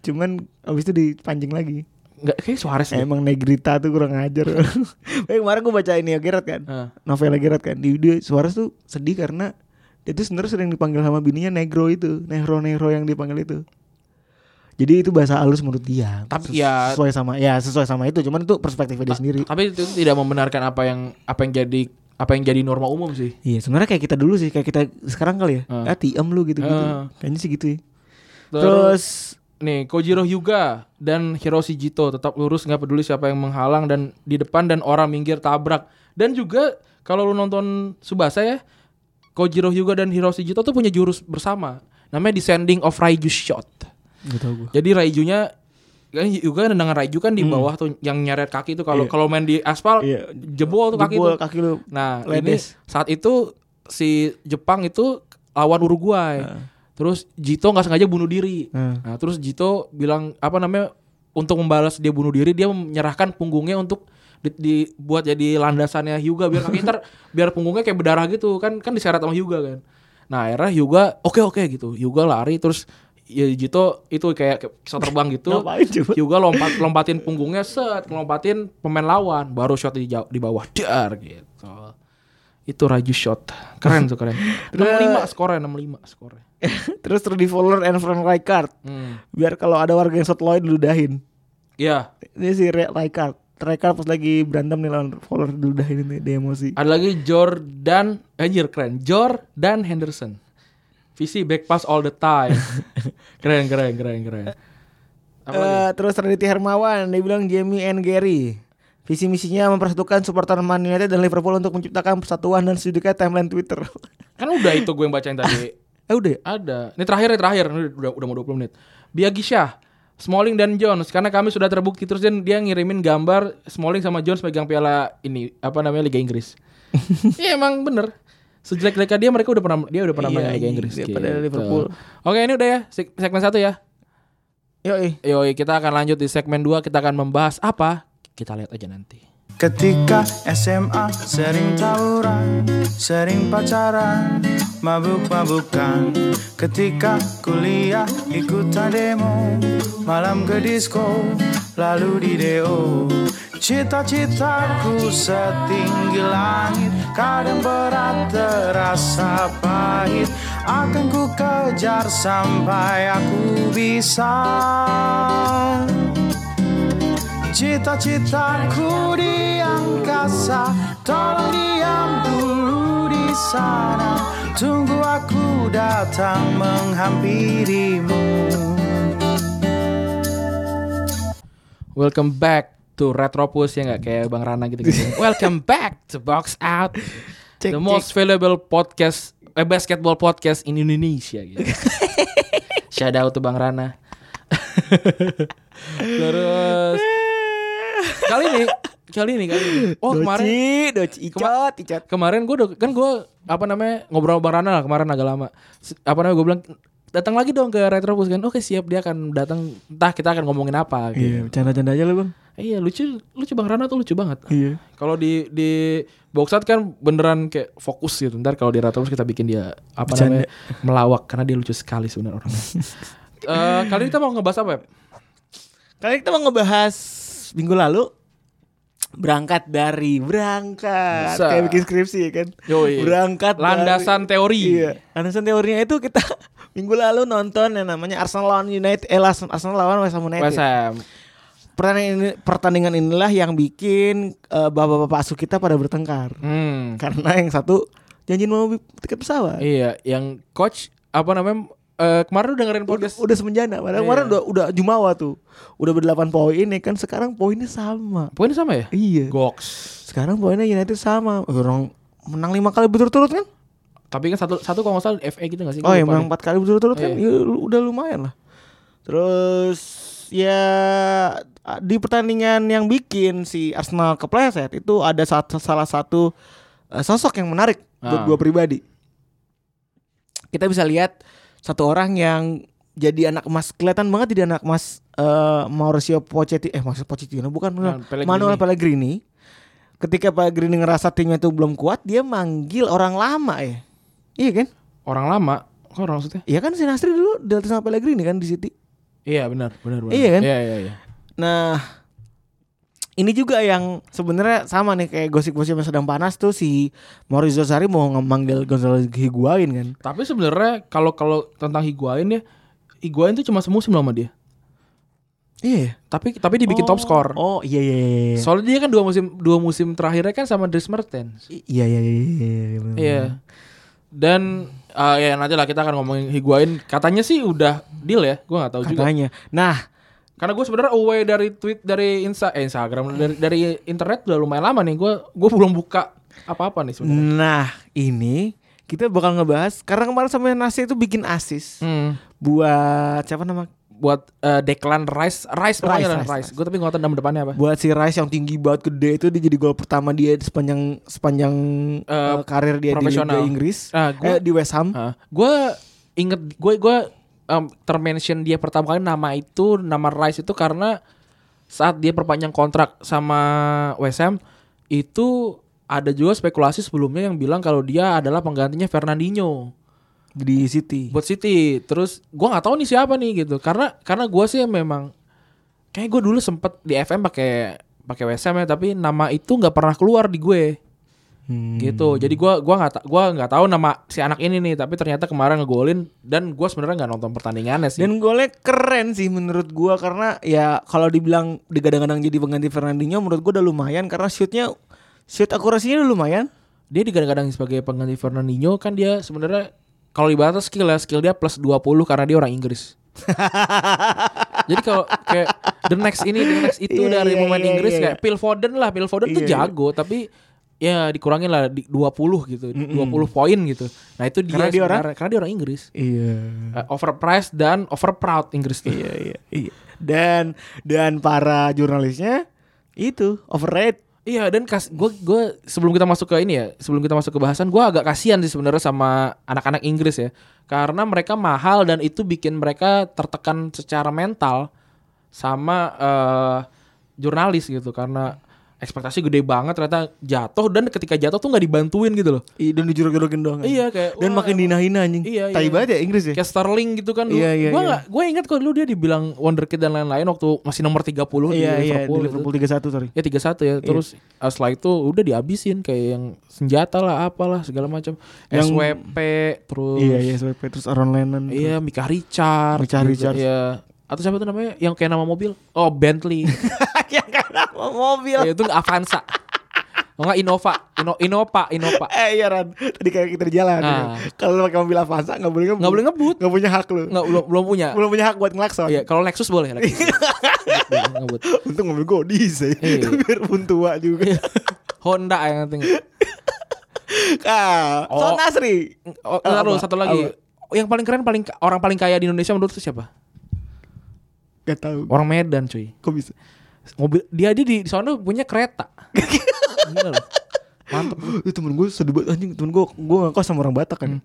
[SPEAKER 3] Cuman abis itu dipancing lagi.
[SPEAKER 2] Enggak kayak Suarez
[SPEAKER 3] Ya,
[SPEAKER 2] deh.
[SPEAKER 3] Emang Negrita tuh kurang ajar. *laughs* Eh, kemarin gue baca ini ya Gerard kan.
[SPEAKER 2] Heeh.
[SPEAKER 3] Novelnya Gerard kan. Di dia Suarez tuh sedih karena dia tuh sebenarnya sering dipanggil sama bininya Negro itu, Negro-Negro yang dipanggil itu. Jadi itu bahasa halus menurut dia.
[SPEAKER 2] Tapi
[SPEAKER 3] Ses-
[SPEAKER 2] ya-
[SPEAKER 3] sesuai sama ya Ah, sesuai sama itu, cuman itu perspektifnya dia sendiri.
[SPEAKER 2] Tapi itu tidak membenarkan apa yang apa yang jadi apa yang jadi norma umum sih.
[SPEAKER 3] Iya, sebenarnya kayak kita dulu sih, kayak kita sekarang kali ya.
[SPEAKER 2] Heeh.
[SPEAKER 3] Ah, tiem lu gitu-gitu.
[SPEAKER 2] Heeh.
[SPEAKER 3] Kayaknya sih gitu ya.
[SPEAKER 2] Ah. Terus,
[SPEAKER 3] Terus
[SPEAKER 2] nih Kojiro Hyuga dan Hiroshi Jito tetap lurus nggak peduli siapa yang menghalang dan di depan dan orang minggir tabrak. Dan juga kalau lu nonton Subasa ya, Kojiro Hyuga dan Hiroshi Jito tuh punya jurus bersama. Namanya Descending of Raiju Shot.
[SPEAKER 3] Gak tau gue
[SPEAKER 2] Jadi Raijunya kan juga dengan Raiju kan di bawah tuh yang nyeret kaki tuh
[SPEAKER 3] Hmm.
[SPEAKER 2] kalau
[SPEAKER 3] Iya.
[SPEAKER 2] kalau main di aspal
[SPEAKER 3] Iya.
[SPEAKER 2] jebol tuh kaki tuh.
[SPEAKER 3] kaki lu
[SPEAKER 2] Nah,
[SPEAKER 3] Ledes.
[SPEAKER 2] ini saat itu si Jepang itu lawan Uruguay. Terus Jito nggak sengaja bunuh diri.
[SPEAKER 3] Heeh.
[SPEAKER 2] Nah, terus Jito bilang apa namanya untuk membalas dia bunuh diri dia menyerahkan punggungnya untuk di- dibuat jadi landasannya Hyuga biar kaki ntar biar punggungnya kayak berdarah gitu kan kan diseret sama Hyuga kan. Nah, akhirnya Hyuga oke oke gitu. Hyuga lari terus ya Jito itu kayak kayak pesawat terbang gitu.
[SPEAKER 3] Ngapain coba?
[SPEAKER 2] Hyuga lompat lompatin punggungnya set, lompatin pemain lawan, baru shot di jauh, di bawah dar gitu. Itu Raju shot. Keren tuh keren. 65 skornya 65 skornya.
[SPEAKER 3] *laughs* Terus Rudy Fowler and Frank Rijkaard
[SPEAKER 2] Hmm.
[SPEAKER 3] Biar kalau ada warga yang shot Lloyd diludahin
[SPEAKER 2] Iya,
[SPEAKER 3] Ini si Re- Rijkaard Rijkaard pas lagi berantem nih lawan Fowler diludahin ini dia emosi
[SPEAKER 2] ada lagi Jordan, anjir keren. Jordan Henderson. Visi back pass all the time. keren keren keren keren. Apa lagi?
[SPEAKER 3] Eh, Terus Raditya Hermawan Dia bilang Jamie and Gary Visi misinya mempersatukan supporter Man United dan Liverpool untuk menciptakan persatuan dan sejuknya timeline Twitter. *laughs*
[SPEAKER 2] Kan udah itu gue yang bacain tadi.
[SPEAKER 3] eh udah ya?
[SPEAKER 2] Ada. Ini terakhir nih terakhir. Ini udah udah mau 20 menit. Biagi Syah, Smalling dan Jones karena kami sudah terbukti terus dia, dia ngirimin gambar Smalling sama Jones pegang piala ini apa namanya Liga
[SPEAKER 3] *laughs*
[SPEAKER 2] Inggris. Iya emang bener. Sejelek-jeleknya dia mereka udah pernah dia udah pernah
[SPEAKER 3] Iya,
[SPEAKER 2] main Liga
[SPEAKER 3] iya,
[SPEAKER 2] Inggris. Gitu.
[SPEAKER 3] daripada Liverpool.
[SPEAKER 2] Oke, ini udah ya seg- segmen satu ya.
[SPEAKER 3] Yoi.
[SPEAKER 2] Yoi, kita akan lanjut di segmen 2 kita akan membahas apa? Kita lihat aja nanti.
[SPEAKER 4] Ketika SMA sering tawuran, sering pacaran, mabuk-mabukan. Ketika kuliah ikutan demo, malam ke disco, lalu di DO. Cita-citaku setinggi langit, kadang berat terasa pahit. Akan ku kejar sampai aku bisa. Cita-citaku di angkasa Tolong diam dulu di sana Tunggu aku datang menghampirimu
[SPEAKER 2] Welcome back to Retropus ya nggak kayak Bang Rana
[SPEAKER 3] *laughs*
[SPEAKER 2] gitu gitu. Welcome back to Box Out,
[SPEAKER 3] Cek,
[SPEAKER 2] the most valuable podcast eh, basketball podcast in Indonesia gitu.
[SPEAKER 3] *laughs*
[SPEAKER 2] Shout out to Bang Rana. Terus kali ini, kali ini kali ini. Oh
[SPEAKER 3] Doci,
[SPEAKER 2] kemarin
[SPEAKER 3] Doci, Icot, Icot.
[SPEAKER 2] kemarin gue udah kan gue apa namanya ngobrol sama Bang Rana lah kemarin agak lama S- apa namanya gue bilang datang lagi dong ke Retropus kan oke siap dia akan datang entah kita akan ngomongin apa
[SPEAKER 3] Iya,
[SPEAKER 2] gitu.
[SPEAKER 3] bercanda-canda aja lu bang.
[SPEAKER 2] iya lucu lucu Bang Rana tuh lucu banget
[SPEAKER 3] Iya.
[SPEAKER 2] kalau di di box out kan beneran kayak fokus gitu ntar kalau di Retropus kita bikin dia apa
[SPEAKER 3] Bercanda.
[SPEAKER 2] namanya melawak karena dia lucu sekali sebenarnya *laughs* orangnya Eh, kali ini kita mau ngebahas apa ya?
[SPEAKER 3] Kali ini kita mau ngebahas minggu lalu berangkat dari berangkat
[SPEAKER 2] Bisa.
[SPEAKER 3] kayak bikin skripsi ya kan.
[SPEAKER 2] Yoi.
[SPEAKER 3] Berangkat
[SPEAKER 2] Landasan
[SPEAKER 3] dari-
[SPEAKER 2] teori.
[SPEAKER 3] Iya. Landasan teorinya itu kita *laughs* minggu lalu nonton yang namanya Arsenal lawan United eh Las- Arsenal lawan West Ham United.
[SPEAKER 2] WSM.
[SPEAKER 3] Pertandingan ini- pertandingan inilah yang bikin eh, bapak-bapak asuh kita pada bertengkar.
[SPEAKER 2] Hmm.
[SPEAKER 3] Karena yang satu janjiin mau bi- tiket pesawat.
[SPEAKER 2] Iya, yang coach apa namanya? eh, kemarin udah dengerin
[SPEAKER 3] Udah,
[SPEAKER 2] podcast
[SPEAKER 3] udah semenjana padahal kemarin
[SPEAKER 2] Iya.
[SPEAKER 3] udah udah jumawa tuh. Udah berdelapan poin ya kan sekarang poinnya sama.
[SPEAKER 2] Poinnya sama ya?
[SPEAKER 3] Iya.
[SPEAKER 2] Goks.
[SPEAKER 3] Sekarang poinnya United sama. Orang menang lima kali berturut-turut kan?
[SPEAKER 2] Tapi kan satu satu kalau nggak salah FA gitu nggak sih?
[SPEAKER 3] Oh
[SPEAKER 2] Gua
[SPEAKER 3] ya,
[SPEAKER 2] lupa
[SPEAKER 3] menang
[SPEAKER 2] nih.
[SPEAKER 3] empat kali berturut-turut kan?
[SPEAKER 2] Iya.
[SPEAKER 3] Ya, lu- udah lumayan lah. Terus ya di pertandingan yang bikin si Arsenal kepleset itu ada satu, salah satu eh, sosok yang menarik buat
[SPEAKER 2] Ah.
[SPEAKER 3] gua pribadi. Kita bisa lihat satu orang yang jadi anak emas kelihatan banget jadi anak emas eh, Mauricio Pochettino eh maksud Pochettino bukan
[SPEAKER 2] Nah,
[SPEAKER 3] bener.
[SPEAKER 2] Pellegrini.
[SPEAKER 3] Manuel Pellegrini. Ketika Pellegrini ngerasa timnya tuh belum kuat, dia manggil orang lama ya. Iya kan?
[SPEAKER 2] Orang lama. Kok orang maksudnya?
[SPEAKER 3] Iya kan si Nasri dulu dilatih sama Pellegrini kan di City.
[SPEAKER 2] Iya benar, benar benar.
[SPEAKER 3] Iya kan?
[SPEAKER 2] Iya iya iya.
[SPEAKER 3] Nah, ini juga yang sebenarnya sama nih kayak gosip-gosip yang sedang panas tuh si Maurizio Sarri mau ngemanggil Gonzalo Higuain kan.
[SPEAKER 2] Tapi sebenarnya kalau kalau tentang Higuain ya, Higuain tuh cuma semusim lama dia.
[SPEAKER 3] Iya.
[SPEAKER 2] Tapi tapi dibikin top score.
[SPEAKER 3] Oh iya iya iya. iya.
[SPEAKER 2] Soalnya dia kan dua musim dua musim terakhirnya kan sama Dries Mertens.
[SPEAKER 3] I- iya iya iya. iya, iya, bener.
[SPEAKER 2] Iya. Dan eh, ya nanti lah kita akan ngomongin Higuain. Katanya sih udah deal ya, gue nggak tahu juga.
[SPEAKER 3] Katanya. Nah,
[SPEAKER 2] Karena gue sebenarnya away dari tweet dari Insta, eh, Instagram dari, dari internet udah lumayan lama nih. Gue gue belum buka apa-apa nih sebenarnya.
[SPEAKER 3] nah ini kita bakal ngebahas karena kemarin sama Nasi itu bikin asis
[SPEAKER 2] Hmm.
[SPEAKER 3] buat siapa nama?
[SPEAKER 2] Buat eh, Declan Rice, Rice,
[SPEAKER 3] Rice,
[SPEAKER 2] pokoknya lah,
[SPEAKER 3] Rice,
[SPEAKER 2] Rice. Gue tapi nggak tahu nama depannya apa.
[SPEAKER 3] Buat si Rice yang tinggi banget gede itu dia jadi gol pertama dia sepanjang sepanjang
[SPEAKER 2] Eh,
[SPEAKER 3] eh, karir dia di Liga
[SPEAKER 2] profesional.
[SPEAKER 3] Inggris.
[SPEAKER 2] Ah,
[SPEAKER 3] Eh,
[SPEAKER 2] gua-
[SPEAKER 3] di West Ham.
[SPEAKER 2] gue inget gue gue um, termention dia pertama kali nama itu nama Rice itu karena saat dia perpanjang kontrak sama West Ham itu ada juga spekulasi sebelumnya yang bilang kalau dia adalah penggantinya Fernandinho
[SPEAKER 3] di City.
[SPEAKER 2] buat City. Terus gue nggak tahu nih siapa nih gitu. Karena karena gue sih memang kayak gue dulu sempet di FM pakai pakai West Ham ya, tapi nama itu nggak pernah keluar di gue
[SPEAKER 3] Hmm.
[SPEAKER 2] gitu jadi gua gua nggak ta- gua nggak tahu nama si anak ini nih tapi ternyata kemarin ngegolin dan gua sebenarnya nggak nonton pertandingannya sih
[SPEAKER 3] Dan golnya keren sih menurut gua karena ya kalau dibilang digadang-gadang jadi pengganti Fernandinho menurut gua udah lumayan karena shootnya shoot akurasinya udah lumayan.
[SPEAKER 2] dia digadang-gadang sebagai pengganti Fernandinho kan dia sebenarnya kalau ibaratnya skill ya skill dia plus 20 karena dia orang
[SPEAKER 3] *laughs*
[SPEAKER 2] Inggris jadi kalau kayak the next ini the next itu
[SPEAKER 3] Iya, iya,
[SPEAKER 2] dari pemain
[SPEAKER 3] iya,
[SPEAKER 2] Inggris
[SPEAKER 3] iya.
[SPEAKER 2] kayak Phil Foden lah Phil Foden tuh
[SPEAKER 3] Iya, iya.
[SPEAKER 2] jago tapi ya dikurangin lah di 20 gitu 20 poin gitu nah itu dia
[SPEAKER 3] Karena dia orang?
[SPEAKER 2] sebenarnya- karena dia orang Inggris
[SPEAKER 3] Iya.
[SPEAKER 2] Eh, overpriced dan overproud Inggris tuh
[SPEAKER 3] Iya iya iya. Dan dan para jurnalisnya itu overrated.
[SPEAKER 2] Iya dan kas gue gue sebelum kita masuk ke ini ya sebelum kita masuk ke bahasan gue agak kasihan sih sebenarnya sama anak-anak Inggris ya karena mereka mahal dan itu bikin mereka tertekan secara mental sama eh, jurnalis gitu karena ekspektasi gede banget ternyata jatuh dan ketika jatuh tuh nggak dibantuin gitu loh
[SPEAKER 3] Iya, dan dijuruk-jurukin doang.
[SPEAKER 2] Iya, kayak,
[SPEAKER 3] dan
[SPEAKER 2] wah,
[SPEAKER 3] makin dinahina anjing.
[SPEAKER 2] iya,
[SPEAKER 3] Tai
[SPEAKER 2] iya.
[SPEAKER 3] banget ya Inggris ya.
[SPEAKER 2] kayak Sterling gitu kan dulu
[SPEAKER 3] Iya, iya,
[SPEAKER 2] gue
[SPEAKER 3] iya.
[SPEAKER 2] nggak gue ingat kok dulu dia dibilang wonderkid dan lain-lain waktu masih nomor 30 di
[SPEAKER 3] Iya iya
[SPEAKER 2] Liverpool,
[SPEAKER 3] di
[SPEAKER 2] gitu.
[SPEAKER 3] Liverpool 31 sorry.
[SPEAKER 2] ya tiga satu
[SPEAKER 3] Iya.
[SPEAKER 2] ya terus eh, setelah itu udah dihabisin kayak yang senjata lah apalah segala macam
[SPEAKER 3] Yang-
[SPEAKER 2] SWP terus
[SPEAKER 3] Iya iya SWP terus Aaron Lennon.
[SPEAKER 2] iya Mika Richard
[SPEAKER 3] Micah
[SPEAKER 2] juga,
[SPEAKER 3] Richards.
[SPEAKER 2] iya. atau siapa tuh namanya yang kayak nama mobil oh Bentley
[SPEAKER 3] *laughs* *laughs* yang karena mobil.
[SPEAKER 2] ya, itu Avanza Oh, enggak Innova Ino- Innova Innova
[SPEAKER 3] Eh iya Ran Tadi kayak kita di jalan
[SPEAKER 2] Ah.
[SPEAKER 3] ya. Kalau lu pakai mobil Avanza Gak boleh ngebut
[SPEAKER 2] Nggak boleh ngebut.
[SPEAKER 3] Gak punya hak lu
[SPEAKER 2] nggak belum belum punya
[SPEAKER 3] Belum punya hak buat ngelakson
[SPEAKER 2] iya kalau Lexus boleh
[SPEAKER 3] *laughs*
[SPEAKER 2] Lexus Ngebut, ngebut.
[SPEAKER 3] Untung mobil gue diesel
[SPEAKER 2] Iya.
[SPEAKER 3] *laughs* Biar pun tua juga
[SPEAKER 2] Honda yang penting
[SPEAKER 3] *laughs* ah, So
[SPEAKER 2] Oh.
[SPEAKER 3] Nasri
[SPEAKER 2] Oh, ntar dulu,
[SPEAKER 3] apa?
[SPEAKER 2] satu lagi.
[SPEAKER 3] Apa?
[SPEAKER 2] Yang paling keren paling orang paling kaya di Indonesia menurut lu siapa?
[SPEAKER 3] Gak tau
[SPEAKER 2] Orang Medan, cuy.
[SPEAKER 3] Kok bisa
[SPEAKER 2] Mobil dia aja di sana punya *laughs* kereta. Gila loh. Mantep.
[SPEAKER 3] Itu temen gue sedih banget anjing Temen gue Gue ngakos sama orang Batak kan
[SPEAKER 2] Hmm.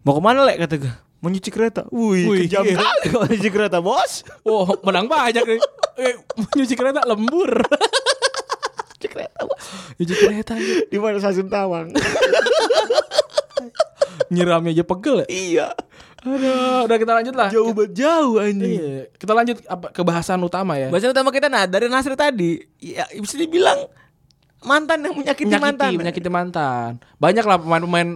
[SPEAKER 3] Mau kemana lek kata gue Mau nyuci kereta Wih,
[SPEAKER 2] Wih,
[SPEAKER 3] kejam
[SPEAKER 2] iya. *laughs*
[SPEAKER 3] kali kalau nyuci kereta bos
[SPEAKER 2] Oh, menang banyak nih. Eh, nyuci kereta lembur.
[SPEAKER 3] Nyuci kereta bos
[SPEAKER 2] nyuci kereta aja.
[SPEAKER 3] Di mana stasiun Tawang
[SPEAKER 2] Nyiramnya aja pegel ya.
[SPEAKER 3] Iya
[SPEAKER 2] Aduh, udah kita lanjut lah.
[SPEAKER 3] Jauh banget jauh anjing
[SPEAKER 2] Iya, kita lanjut apa, ke bahasan utama ya.
[SPEAKER 3] Bahasa utama kita nah dari Nasri tadi ya bisa dibilang mantan yang menyakiti,
[SPEAKER 2] menyakiti,
[SPEAKER 3] mantan.
[SPEAKER 2] menyakiti mantan. Banyak lah pemain-pemain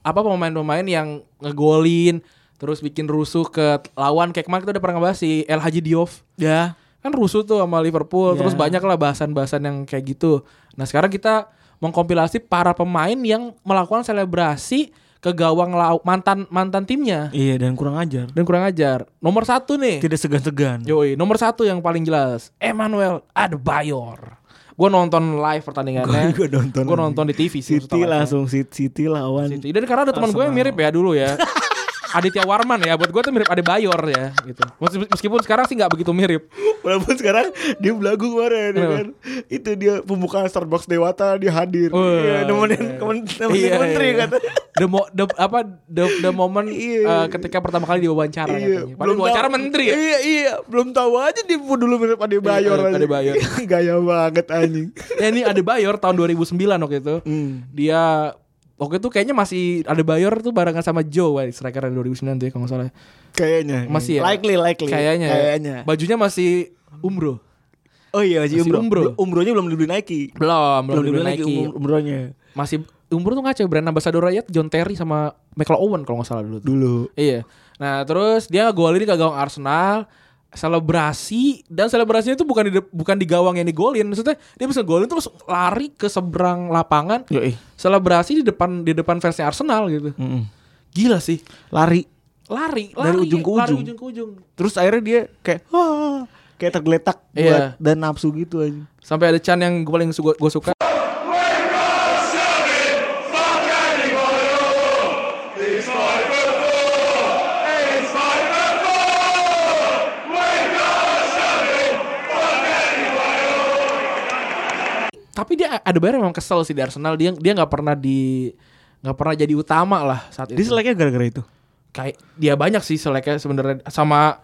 [SPEAKER 2] apa pemain-pemain yang ngegolin terus bikin rusuh ke lawan kayak kemarin kita udah pernah ngebahas si El Haji Diouf.
[SPEAKER 3] Ya.
[SPEAKER 2] kan rusuh tuh sama Liverpool
[SPEAKER 3] Iya.
[SPEAKER 2] terus banyak lah bahasan-bahasan yang kayak gitu nah sekarang kita mengkompilasi para pemain yang melakukan selebrasi ke gawang lau- mantan mantan timnya
[SPEAKER 3] Iya dan kurang ajar.
[SPEAKER 2] dan kurang ajar nomor satu nih
[SPEAKER 3] Tidak segan-segan.
[SPEAKER 2] Joey nomor satu yang paling jelas Emmanuel Adebayor gue nonton live pertandingannya
[SPEAKER 3] Gua- gua nonton
[SPEAKER 2] Gua
[SPEAKER 3] lagi.
[SPEAKER 2] nonton di TV
[SPEAKER 3] City
[SPEAKER 2] sih pertama.
[SPEAKER 3] langsung City, City lawan.
[SPEAKER 2] City. Dan karena ada teman gue yang mirip ya dulu
[SPEAKER 3] *laughs*
[SPEAKER 2] ya. Aditya Warman ya, buat gue tuh mirip Adebayor ya gitu. Mes- Meskipun sekarang sih nggak begitu mirip.
[SPEAKER 3] Walaupun sekarang dia belagu kemarin ya
[SPEAKER 2] Kenapa?
[SPEAKER 3] kan. Itu dia pembukaan Starbucks Dewata dia hadir.
[SPEAKER 2] Oh,
[SPEAKER 3] Iya, nemenin
[SPEAKER 2] iya.
[SPEAKER 3] kemen- nemenin
[SPEAKER 2] Iya,
[SPEAKER 3] menteri
[SPEAKER 2] iya.
[SPEAKER 3] kata.
[SPEAKER 2] The, mo, the apa the, the moment
[SPEAKER 3] Iya.
[SPEAKER 2] eh, ketika pertama kali
[SPEAKER 3] Iya,
[SPEAKER 2] diwawancara katanya. Padahal diwawancara
[SPEAKER 3] tahu-
[SPEAKER 2] menteri ya.
[SPEAKER 3] Iya, iya, belum tahu aja dia dulu mirip Ade Bayor.
[SPEAKER 2] Iya, Adebayor.
[SPEAKER 3] *laughs* Gaya banget anjing.
[SPEAKER 2] ya ini Adebayor tahun 2009 waktu itu.
[SPEAKER 3] Hmm.
[SPEAKER 2] Dia waktu itu kayaknya masih Adebayor tuh barengan sama Joe wah, striker yang 2009 tuh ya kalau nggak salah.
[SPEAKER 3] Kayaknya.
[SPEAKER 2] Masih ya?
[SPEAKER 3] Likely, likely.
[SPEAKER 2] Kayaknya. ya.
[SPEAKER 3] Kayaknya.
[SPEAKER 2] Bajunya masih umroh.
[SPEAKER 3] Oh iya masih,
[SPEAKER 2] Masih
[SPEAKER 3] umroh.
[SPEAKER 2] umroh.
[SPEAKER 3] Bel- Umrohnya belum dibeli Nike.
[SPEAKER 2] Belum, belum, dibeli Nike.
[SPEAKER 3] um- umrohnya.
[SPEAKER 2] Masih umur tuh ngaco brand ambassador rakyat John Terry sama Michael Owen kalau nggak salah dulu. tuh.
[SPEAKER 3] Dulu.
[SPEAKER 2] Iya. Nah, terus dia ngegolin ke gawang Arsenal selebrasi dan selebrasinya itu bukan di dep- bukan di gawang yang digolin maksudnya dia bisa golin terus lari ke seberang lapangan
[SPEAKER 3] Yo ih.
[SPEAKER 2] selebrasi di depan di depan fansnya Arsenal gitu gila sih
[SPEAKER 3] Lari.
[SPEAKER 2] lari lari
[SPEAKER 3] Dari ujung ke
[SPEAKER 2] lari
[SPEAKER 3] ujung.
[SPEAKER 2] ujung ke ujung
[SPEAKER 3] Terus akhirnya dia kayak "Ah," kayak tergeletak buat
[SPEAKER 2] Iya.
[SPEAKER 3] dan nafsu gitu aja.
[SPEAKER 2] sampai ada Chan yang gue paling gue suka tapi dia ada bayar memang kesel sih di Arsenal dia dia nggak pernah di nggak pernah jadi utama lah saat
[SPEAKER 3] Dia
[SPEAKER 2] itu
[SPEAKER 3] seleknya gara-gara itu.
[SPEAKER 2] kayak dia banyak sih seleknya sebenarnya sama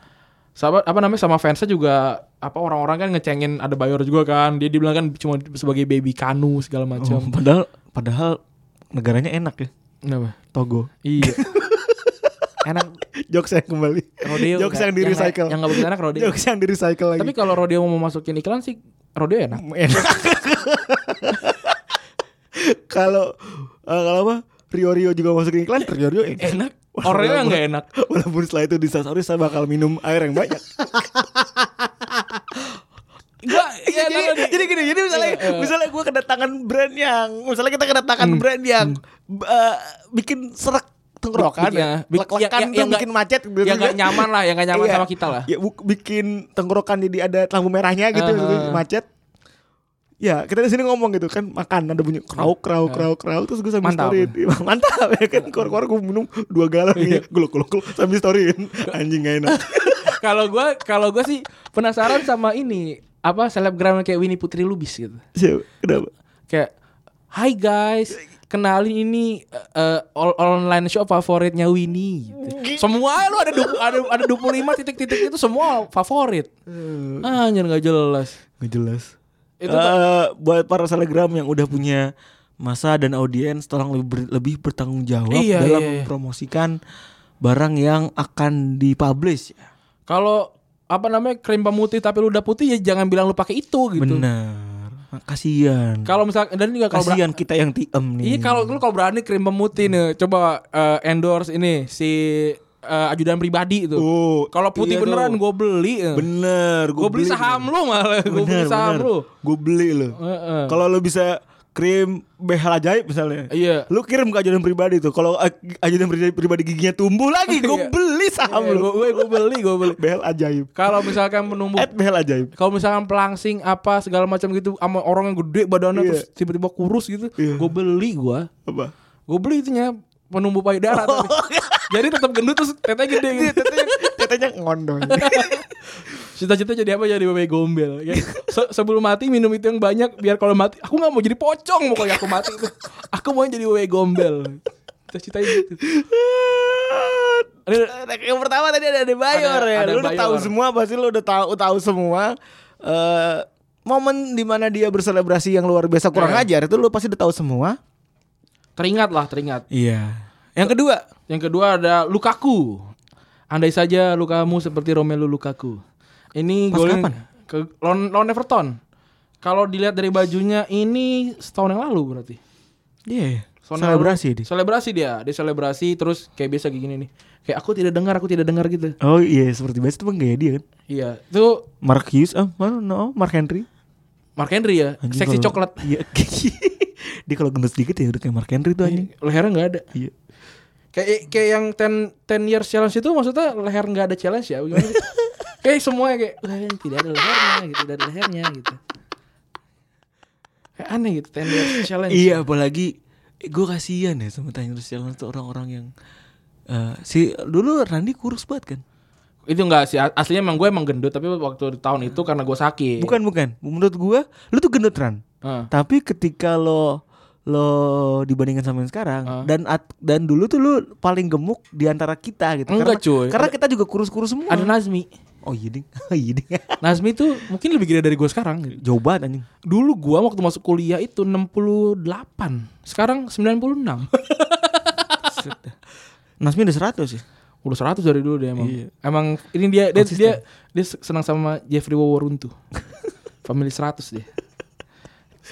[SPEAKER 2] sama apa namanya sama fansnya juga apa orang-orang kan ngecengin ada Bayor juga kan dia dibilang kan cuma sebagai baby kanu segala macam
[SPEAKER 3] Hmm, padahal padahal negaranya enak ya.
[SPEAKER 2] Kenapa?
[SPEAKER 3] Togo.
[SPEAKER 2] iya enak
[SPEAKER 3] *laughs* Jokes yang kembali.
[SPEAKER 2] rodeo
[SPEAKER 3] Jokes
[SPEAKER 2] nggak-
[SPEAKER 3] yang di recycle.
[SPEAKER 2] nggak- yang nggak begitu enak rodeo
[SPEAKER 3] Jokes yang di recycle lagi.
[SPEAKER 2] tapi kalau rodeo mau masukin iklan sih rodeo enak
[SPEAKER 3] enak. *laughs* kalau eh, kalau apa? Rio Rio juga masukin iklan, Rio Rio enak.
[SPEAKER 2] enak Eh, Oreo yang nggak enak
[SPEAKER 3] Walaupun setelah itu disasauri saya bakal minum air yang
[SPEAKER 2] *laughs*
[SPEAKER 3] banyak.
[SPEAKER 2] Enggak, ya,
[SPEAKER 3] jadi,
[SPEAKER 2] enak tadi.
[SPEAKER 3] jadi gini, jadi misalnya
[SPEAKER 2] Iya, iya.
[SPEAKER 3] misalnya gue kedatangan brand yang misalnya kita kedatangan
[SPEAKER 2] Hmm.
[SPEAKER 3] brand yang eh, bikin serak tenggorokan
[SPEAKER 2] Bikin,
[SPEAKER 3] ya,
[SPEAKER 2] ya, bikin-
[SPEAKER 3] lek-lekan
[SPEAKER 2] yang-
[SPEAKER 3] tuh
[SPEAKER 2] yang
[SPEAKER 3] bikin
[SPEAKER 2] nggak-
[SPEAKER 3] macet gitu
[SPEAKER 2] yang nggak
[SPEAKER 3] kan.
[SPEAKER 2] nyaman lah, yang nggak nyaman
[SPEAKER 3] Iya.
[SPEAKER 2] sama kita lah.
[SPEAKER 3] Ya bu- bikin tenggorokan jadi ada lampu merahnya gitu
[SPEAKER 2] Aha.
[SPEAKER 3] jadi macet. Ya, kita di sini ngomong gitu kan makan ada bunyi krauk krauk krauk krauk terus gue sambil
[SPEAKER 2] Mantap.
[SPEAKER 3] storyin. *laughs* Mantap ya kan kor-kor gue minum dua galon ya.
[SPEAKER 2] Iya.
[SPEAKER 3] Guluk guluk guluk sambil
[SPEAKER 2] *laughs*
[SPEAKER 3] storyin. Anjing gak enak. *laughs*
[SPEAKER 2] kalau gue kalau gue sih penasaran sama ini apa selebgram kayak Winnie Putri Lubis gitu
[SPEAKER 3] Siapa? Kenapa?
[SPEAKER 2] kayak Hai guys, kenalin ini eh, eh, all- online shop favoritnya Winnie. Gitu. Semua lu ada du- ada ada 25 titik-titik itu semua favorit.
[SPEAKER 3] Hmm.
[SPEAKER 2] Anjir nggak jelas.
[SPEAKER 3] Gak jelas.
[SPEAKER 2] Itu
[SPEAKER 3] Eh, buat para selegram yang udah punya masa dan audiens tolong lebih ber- lebih bertanggung jawab
[SPEAKER 2] Iya,
[SPEAKER 3] dalam
[SPEAKER 2] iya, iya.
[SPEAKER 3] mempromosikan barang yang akan dipublish ya.
[SPEAKER 2] Kalau apa namanya krim pemutih tapi lu udah putih ya jangan bilang lu pakai itu gitu.
[SPEAKER 3] Benar. Kasihan.
[SPEAKER 2] Kalau misal dan juga kalau bera-
[SPEAKER 3] Kasihan kita yang tiem nih.
[SPEAKER 2] Iya kalau lu kalau berani krim pemutih nih coba eh, endorse ini si eh, ajudan pribadi itu.
[SPEAKER 3] Oh,
[SPEAKER 2] kalau
[SPEAKER 3] iya
[SPEAKER 2] putih beneran
[SPEAKER 3] dong.
[SPEAKER 2] gue beli.
[SPEAKER 3] bener,
[SPEAKER 2] Gue beli saham lu malah. Gue beli saham lu.
[SPEAKER 3] Gue beli lo.
[SPEAKER 2] Heeh.
[SPEAKER 3] Kalau lu bisa kirim behel ajaib misalnya.
[SPEAKER 2] Iya.
[SPEAKER 3] Lu kirim ke ajudan pribadi tuh. Kalau eh, ajudan pri- pribadi giginya tumbuh lagi, gue
[SPEAKER 2] Iya.
[SPEAKER 3] beli saham lu.
[SPEAKER 2] Gue gue beli gue beli.
[SPEAKER 3] Behel ajaib.
[SPEAKER 2] Kalau misalkan menumbuh
[SPEAKER 3] At behel ajaib.
[SPEAKER 2] kalau misalkan pelangsing apa segala macam gitu sama orang yang gede badannya
[SPEAKER 3] Iya.
[SPEAKER 2] terus tiba-tiba kurus gitu,
[SPEAKER 3] Iya.
[SPEAKER 2] gue beli gue,
[SPEAKER 3] Apa? *laughs*
[SPEAKER 2] gue beli itunya penumbuh payudara.
[SPEAKER 3] Oh,
[SPEAKER 2] tapi. Jadi tetap gendut terus tetenya gede
[SPEAKER 3] Iya,
[SPEAKER 2] gitu.
[SPEAKER 3] Katanya ngondong.
[SPEAKER 2] Cita-cita jadi apa jadi bebek gombel. Ya. Se- sebelum mati minum itu yang banyak biar kalau mati aku nggak mau jadi pocong pokoknya aku mati itu. Aku mau jadi bebek gombel. Cita-cita gitu. Ini-
[SPEAKER 3] yang pertama tadi ada Adebayor
[SPEAKER 2] Ada-
[SPEAKER 3] ya.
[SPEAKER 2] ada
[SPEAKER 3] lu udah
[SPEAKER 2] Adebayor.
[SPEAKER 3] tahu semua pasti lu udah tahu tahu semua eh momen dimana dia berselebrasi yang luar biasa kurang
[SPEAKER 2] Eh.
[SPEAKER 3] ajar itu lu pasti udah tahu semua.
[SPEAKER 2] Teringat lah, teringat.
[SPEAKER 3] Iya. Yang kedua,
[SPEAKER 2] Yang kedua ada Lukaku. Andai saja lukamu seperti Romelu Lukaku. Ini
[SPEAKER 3] Pas
[SPEAKER 2] golin
[SPEAKER 3] kapan?
[SPEAKER 2] ke lawan, lawan Everton. Kalau dilihat dari bajunya ini setahun yang lalu berarti.
[SPEAKER 3] iya.
[SPEAKER 2] Setahun yang
[SPEAKER 3] Selebrasi
[SPEAKER 2] lalu.
[SPEAKER 3] dia.
[SPEAKER 2] Selebrasi dia, dia selebrasi terus kayak biasa kayak gini nih. Kayak aku tidak dengar, aku tidak dengar gitu.
[SPEAKER 3] Oh iya, seperti biasa itu bang gaya dia kan.
[SPEAKER 2] Iya, itu
[SPEAKER 3] Mark Hughes, ah, mana no, Mark Henry.
[SPEAKER 2] Mark Henry ya,
[SPEAKER 3] Anjing
[SPEAKER 2] seksi
[SPEAKER 3] kalau-
[SPEAKER 2] coklat.
[SPEAKER 3] Iya. dia kalau gendut sedikit ya udah kayak Mark Henry tuh *laughs*
[SPEAKER 2] Iya.
[SPEAKER 3] anjing.
[SPEAKER 2] Lehernya nggak ada.
[SPEAKER 3] Iya.
[SPEAKER 2] Kayak kayak yang 10 10 years challenge itu maksudnya leher nggak ada challenge ya? Bagaimana? *laughs* sih? kayak semuanya kayak "Wah, ini tidak ada lehernya gitu, tidak ada lehernya gitu. Kayak aneh gitu 10 years challenge.
[SPEAKER 3] Iya apalagi gue kasihan ya sama Tanjung Jalan tuh orang-orang yang eh, si dulu Randi kurus banget kan?
[SPEAKER 2] Itu enggak sih aslinya emang gue emang gendut tapi waktu di tahun itu karena gue sakit.
[SPEAKER 3] Bukan bukan. Menurut gue lu tuh gendut Ran.
[SPEAKER 2] Heeh.
[SPEAKER 3] Tapi ketika lo lo dibandingkan sama yang sekarang
[SPEAKER 2] Ah.
[SPEAKER 3] dan at- dan dulu tuh lu paling gemuk di antara kita gitu.
[SPEAKER 2] Enggak,
[SPEAKER 3] karena,
[SPEAKER 2] cuy.
[SPEAKER 3] Karena kita juga kurus-kurus semua.
[SPEAKER 2] Ada Nazmi.
[SPEAKER 3] Oh iya ding. *laughs* Oh, iya ding.
[SPEAKER 2] Nazmi tuh mungkin lebih gede dari gue sekarang. gitu.
[SPEAKER 3] Jauh banget anjing.
[SPEAKER 2] Dulu gua waktu masuk kuliah itu 68. Sekarang 96.
[SPEAKER 3] Nasmi udah 100 ya.
[SPEAKER 2] Udah 100 dari dulu dia emang.
[SPEAKER 3] Iya. *laughs*
[SPEAKER 2] Emang ini dia dia, dia dia senang sama Jeffrey Waworuntu. Family 100 dia.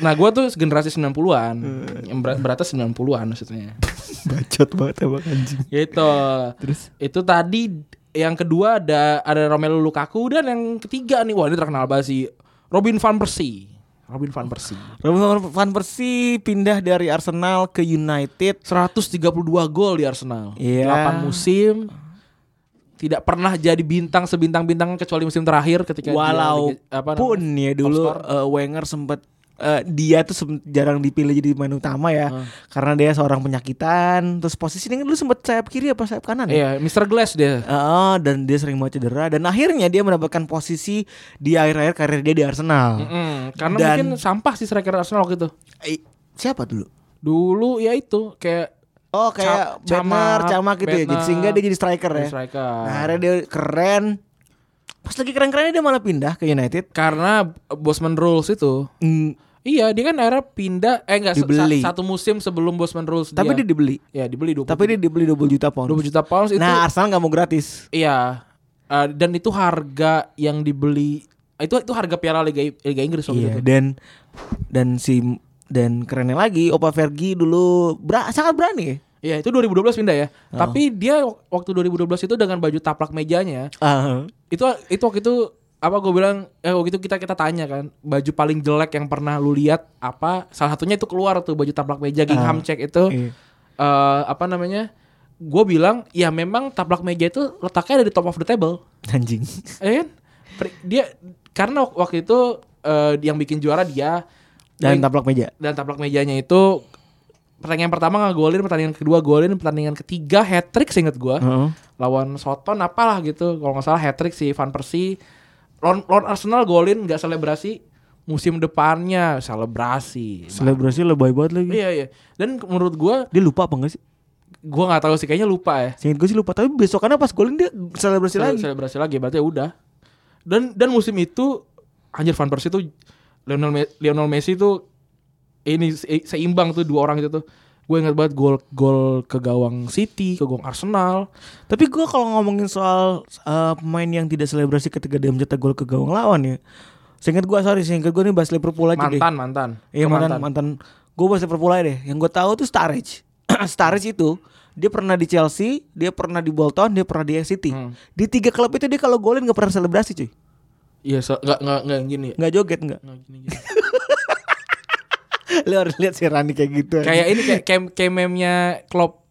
[SPEAKER 2] Nah, gua tuh generasi 90-an.
[SPEAKER 3] Hmm.
[SPEAKER 2] Yang ber- beratnya 90-an
[SPEAKER 3] *laughs*
[SPEAKER 2] maksudnya.
[SPEAKER 3] Bacot banget emang anjing.
[SPEAKER 2] Gitu.
[SPEAKER 3] Terus
[SPEAKER 2] Itu tadi yang kedua ada ada Romelu Lukaku dan yang ketiga nih wah ini terkenal banget sih Robin van Persie. Robin van Persie.
[SPEAKER 3] Robin Van Persie pindah dari Arsenal ke United.
[SPEAKER 2] 132 gol di Arsenal.
[SPEAKER 3] Iya.
[SPEAKER 2] 8 musim. Tidak pernah jadi bintang sebintang-bintang kecuali musim terakhir ketika dia
[SPEAKER 3] Walau
[SPEAKER 2] Liga- apa
[SPEAKER 3] pun
[SPEAKER 2] namanya?
[SPEAKER 3] ya dulu
[SPEAKER 2] Top scorer.
[SPEAKER 3] eh, Wenger sempet eh, dia tuh sem- jarang dipilih jadi pemain utama ya
[SPEAKER 2] Ah.
[SPEAKER 3] karena dia seorang penyakitan terus posisinya dulu sempet sayap kiri apa sayap kanan ya?
[SPEAKER 2] Iya, Mr. Glass dia.
[SPEAKER 3] Heeh, dan dia sering banget cedera dan akhirnya dia mendapatkan posisi di akhir-akhir karir dia di Arsenal.
[SPEAKER 2] Mm, karena
[SPEAKER 3] Dan-
[SPEAKER 2] mungkin sampah sih striker Arsenal waktu itu.
[SPEAKER 3] Eh, siapa dulu?
[SPEAKER 2] Dulu ya itu kayak
[SPEAKER 3] Oh kayak
[SPEAKER 2] Ca-
[SPEAKER 3] Camer,
[SPEAKER 2] Camak,
[SPEAKER 3] Camak gitu ya.
[SPEAKER 2] Bednar.
[SPEAKER 3] Jadi sehingga dia jadi striker ya.
[SPEAKER 2] striker.
[SPEAKER 3] Nah, akhirnya dia keren. Pas lagi keren-kerennya dia malah pindah ke United.
[SPEAKER 2] karena Bosman Rules itu.
[SPEAKER 3] Mm,
[SPEAKER 2] Iya, dia kan akhirnya pindah eh enggak se-
[SPEAKER 3] Dibeli.
[SPEAKER 2] sa- satu musim sebelum Bosman Rules
[SPEAKER 3] tapi dia dibeli.
[SPEAKER 2] ya dibeli 20.
[SPEAKER 3] Tapi dia dibeli 20 juta pound.
[SPEAKER 2] 20 juta pounds itu
[SPEAKER 3] Nah, Arsenal nggak mau gratis.
[SPEAKER 2] Iya. Eh, dan itu harga yang dibeli itu itu harga piala Liga Liga Inggris waktu
[SPEAKER 3] Iya,
[SPEAKER 2] itu.
[SPEAKER 3] dan dan si dan kerennya lagi Opa Vergi dulu bra- sangat berani.
[SPEAKER 2] Iya, itu 2012 pindah ya. Tapi dia wak- waktu 2012 itu dengan baju taplak mejanya,
[SPEAKER 3] Ah,
[SPEAKER 2] itu itu waktu itu apa gue bilang eh waktu itu kita kita tanya kan baju paling jelek yang pernah lu lihat apa salah satunya itu keluar tuh baju taplak meja Gingham check itu
[SPEAKER 3] iya.
[SPEAKER 2] eh, apa namanya gue bilang ya memang taplak meja itu letaknya ada di top of the table
[SPEAKER 3] anjing.
[SPEAKER 2] ya kan? Per- dia karena wak- waktu itu eh, yang bikin juara dia
[SPEAKER 3] *laughs* Dan
[SPEAKER 2] Wing-
[SPEAKER 3] taplak meja.
[SPEAKER 2] dan taplak mejanya itu pertandingan pertama nggak golin pertandingan kedua golin pertandingan ketiga hat trick seinget gue
[SPEAKER 3] Heeh.
[SPEAKER 2] lawan Soton apalah gitu kalau nggak salah hat trick si Van Persie lawan, lawan Arsenal golin nggak selebrasi musim depannya selebrasi
[SPEAKER 3] Selebrasi lebay banget lagi.
[SPEAKER 2] iya iya dan menurut gue
[SPEAKER 3] Dia lupa apa enggak sih?
[SPEAKER 2] gue nggak tahu sih kayaknya lupa ya
[SPEAKER 3] Seingat gue sih lupa, tapi besokannya pas golin dia selebrasi
[SPEAKER 2] Sele-
[SPEAKER 3] lagi.
[SPEAKER 2] selebrasi lagi berarti ya udah dan dan musim itu anjir Van Persie tuh Lionel Me- Lionel Messi tuh ini se- seimbang tuh dua orang itu tuh gue ingat banget gol gol ke gawang City ke gawang Arsenal
[SPEAKER 3] Tapi gue kalau ngomongin soal uh, pemain yang tidak selebrasi ketika dia mencetak gol ke gawang lawan ya. Seingat gue sorry, seingat gue nih bahas Liverpool aja deh.
[SPEAKER 2] mantan mantan
[SPEAKER 3] Iya
[SPEAKER 2] Ke
[SPEAKER 3] mantan, mantan. Gue bahas Liverpool aja ya deh. Yang gue tahu tuh *clears throat* Sturridge. Sturridge itu dia pernah di Chelsea, dia pernah di Bolton, dia pernah di City.
[SPEAKER 2] Hmm.
[SPEAKER 3] Di tiga klub itu dia kalau golin gak pernah selebrasi cuy.
[SPEAKER 2] iya so, nggak nggak nggak gini ya
[SPEAKER 3] Nggak joget nggak.
[SPEAKER 2] Nggak gini-gini.
[SPEAKER 3] Lo Hmm. harus lihat si Rani kayak gitu.
[SPEAKER 2] kayak ini kayak kayak, kayak meme-nya Klopp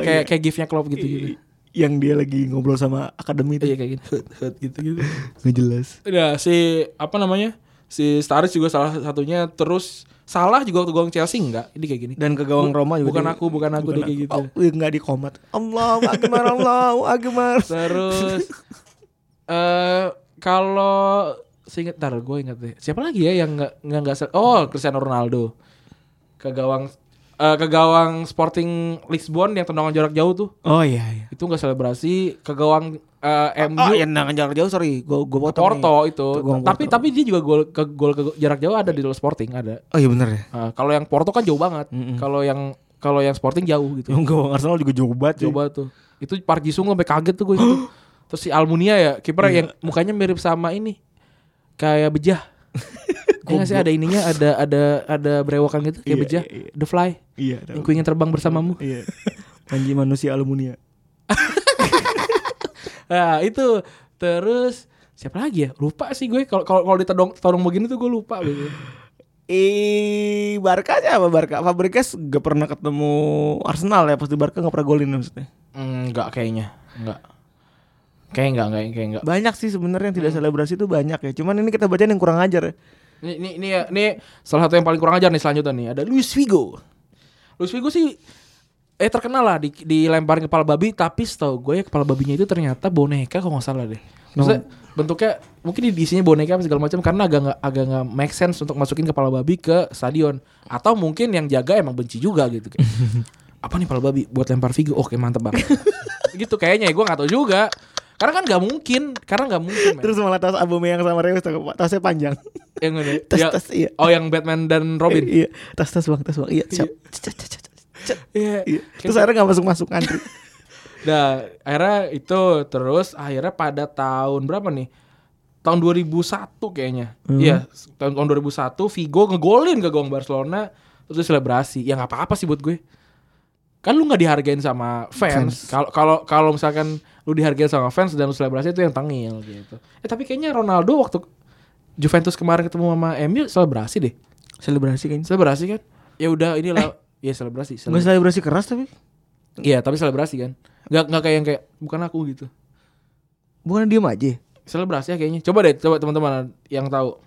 [SPEAKER 3] Oh,
[SPEAKER 2] kayak
[SPEAKER 3] iya.
[SPEAKER 2] kayak gif-nya Klopp gitu gitu
[SPEAKER 3] yang dia lagi ngobrol sama akademi itu
[SPEAKER 2] iya kayak gitu gitu gitu
[SPEAKER 3] *laughs* nggak jelas.
[SPEAKER 2] Udah si apa namanya si Staris juga salah satunya terus salah juga waktu gawang Chelsea enggak ini kayak gini
[SPEAKER 3] Dan ke gawang
[SPEAKER 2] Bu-
[SPEAKER 3] Roma juga.
[SPEAKER 2] bukan
[SPEAKER 3] dia-
[SPEAKER 2] aku bukan aku dia kayak gitu
[SPEAKER 3] Oh, iya, nggak di komat. Allahu *laughs* akbar, Allahu akbar.
[SPEAKER 2] terus *laughs* eh kalau seinget ntar gue inget deh siapa lagi ya yang nggak nggak nggak se- oh Cristiano Ronaldo ke gawang eh, ke gawang Sporting Lisbon yang tendangan jarak jauh tuh
[SPEAKER 3] Oh iya iya.
[SPEAKER 2] itu nggak selebrasi ke gawang eh, MU
[SPEAKER 3] Oh, yang nangan jarak jauh sorry, gua gua potong.
[SPEAKER 2] Porto
[SPEAKER 3] nih.
[SPEAKER 2] itu.
[SPEAKER 3] Tuh, gawang
[SPEAKER 2] Tapi
[SPEAKER 3] Porto.
[SPEAKER 2] tapi dia juga gol ke gol ke jarak jauh ada di dalam Sporting ada.
[SPEAKER 3] Oh iya benar ya.
[SPEAKER 2] Nah, kalau yang Porto kan jauh banget. Kalau yang kalau yang Sporting jauh gitu.
[SPEAKER 3] Yang gawang Arsenal juga jauh banget. cuy.
[SPEAKER 2] Jauh banget tuh. Itu Park Ji Sung sampai kaget tuh gue *gasps* itu. Terus si Almunia ya, kiper yang mukanya mirip sama ini. Kayak *laughs* bejah. Iya nggak sih ada ininya, ada ada ada berewokan gitu kayak
[SPEAKER 3] Iya,
[SPEAKER 2] bejah.
[SPEAKER 3] iya, iya.
[SPEAKER 2] The Fly.
[SPEAKER 3] Iya.
[SPEAKER 2] Yang ku ingin terbang bersamamu.
[SPEAKER 3] Iya. Panji manusia alumnia.
[SPEAKER 2] Nah, itu terus siapa lagi ya? Lupa sih gue kalau kalau kalau ditodong todong begini tuh gue lupa gitu.
[SPEAKER 3] Eh, Barca aja apa Barca? Fabregas gak pernah ketemu Arsenal ya pas di Barca gak pernah golin maksudnya.
[SPEAKER 2] Mm, Enggak kayaknya. Enggak. Kayak enggak, enggak, kayak enggak.
[SPEAKER 3] Banyak sih sebenarnya yang tidak selebrasi itu banyak ya. Cuman ini kita bacain yang kurang ajar ya.
[SPEAKER 2] Ini, ini, ini, ya- ini salah satu yang paling kurang ajar nih selanjutnya nih. Ada Luis Figo. Luis Figo sih eh terkenal lah di, dilemparin kepala babi tapi setahu gue ya kepala babinya itu ternyata boneka kalau nggak salah deh. Maksudnya bentuknya mungkin di- diisinya boneka apa segala macam karena agak nggak agak nggak make sense untuk masukin kepala babi ke stadion atau mungkin yang jaga emang benci juga gitu.
[SPEAKER 3] *laughs*
[SPEAKER 2] Kayak, apa nih kepala babi buat lempar Figo? Oke mantep banget. gitu kayaknya ya gue nggak tahu juga. Karena kan nggak mungkin, karena nggak mungkin. men.
[SPEAKER 3] Terus malah tas Aubameyang sama Reus tau nggak, tasnya panjang.
[SPEAKER 2] yang mana?
[SPEAKER 3] Tas-
[SPEAKER 2] Ya-
[SPEAKER 3] tas, iya.
[SPEAKER 2] Oh yang Batman dan Robin.
[SPEAKER 3] iya, tas tas Bang, tas Bang. Iya, siap. Cet, cet, cet, cet.
[SPEAKER 2] Iya.
[SPEAKER 3] Iya. Terus akhirnya gak masuk-masuk antri.
[SPEAKER 2] Nah, akhirnya itu terus akhirnya pada tahun berapa nih? tahun 2001 kayaknya. Iya, tahun tahun 2001 Vigo ngegolin ke gawang Barcelona terus selebrasi. Ya nggak apa-apa sih buat gue. Kan lu nggak dihargain sama fans.
[SPEAKER 3] Fans.
[SPEAKER 2] Kalau kalau kalau misalkan lu dihargain sama fans dan lu selebrasi itu yang tengil gitu. Eh tapi kayaknya Ronaldo waktu Juventus kemarin ketemu sama MU selebrasi deh.
[SPEAKER 3] *laughs* Selebrasi kayaknya.
[SPEAKER 2] Selebrasi kan? Ya udah inilah ya selebrasi.
[SPEAKER 3] Gak
[SPEAKER 2] selebrasi.
[SPEAKER 3] selebrasi keras tapi
[SPEAKER 2] Iya, tapi selebrasi kan. Nggak nggak kayak yang kayak bukan aku gitu.
[SPEAKER 3] bukan diem aja.
[SPEAKER 2] selebrasi ya kayaknya. Coba deh, coba teman-teman yang tahu.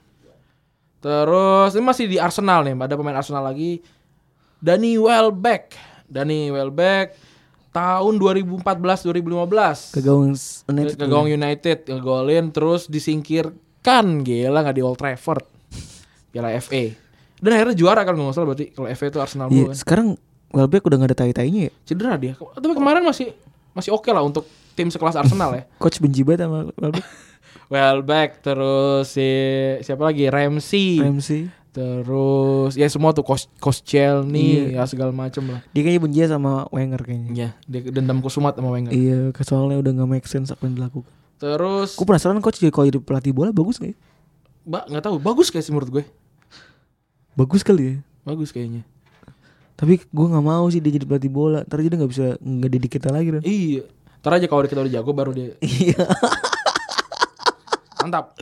[SPEAKER 2] Terus ini masih di Arsenal nih, ada pemain Arsenal lagi. Dani Welbeck. Dani Welbeck tahun 2014-2015.
[SPEAKER 3] Ke gawang S- United. Iya,
[SPEAKER 2] Ke gawang United, ngegolin terus disingkirkan. Gila nggak di Old Trafford. Piala FA. Dan akhirnya juara kan nggak salah berarti kalau FA itu Arsenal
[SPEAKER 3] Iya,
[SPEAKER 2] dulu kan.
[SPEAKER 3] sekarang Welbeck udah gak ada tai-tainya ya.
[SPEAKER 2] Cedera dia. Tapi kemarin masih masih oke lah untuk tim sekelas Arsenal ya.
[SPEAKER 3] Coach benci banget sama Welbeck.
[SPEAKER 2] Welbeck terus si siapa lagi Ramsey.
[SPEAKER 3] Ramsey.
[SPEAKER 2] Terus ya semua tuh kos Koschel nih
[SPEAKER 3] Iya.
[SPEAKER 2] ya segala macem lah.
[SPEAKER 3] Dia kayaknya benci ya sama Wenger kayaknya.
[SPEAKER 2] Iya, dia dendam kusumat sama Wenger.
[SPEAKER 3] Iya, soalnya udah gak make sense apa yang dilakukan.
[SPEAKER 2] Terus
[SPEAKER 3] Aku penasaran coach jadi kalau jadi pelatih bola bagus gak ya?
[SPEAKER 2] Mbak nggak tahu bagus kayak sih menurut gue.
[SPEAKER 3] Bagus kali ya.
[SPEAKER 2] Bagus kayaknya.
[SPEAKER 3] Tapi gue gak mau sih dia jadi pelatih bola. Ntar jadi gak bisa nggak didik kita lagi. Ren.
[SPEAKER 2] Iya. Ntar aja kalau kita udah jago baru dia.
[SPEAKER 3] Iya.
[SPEAKER 2] *laughs* Mantap.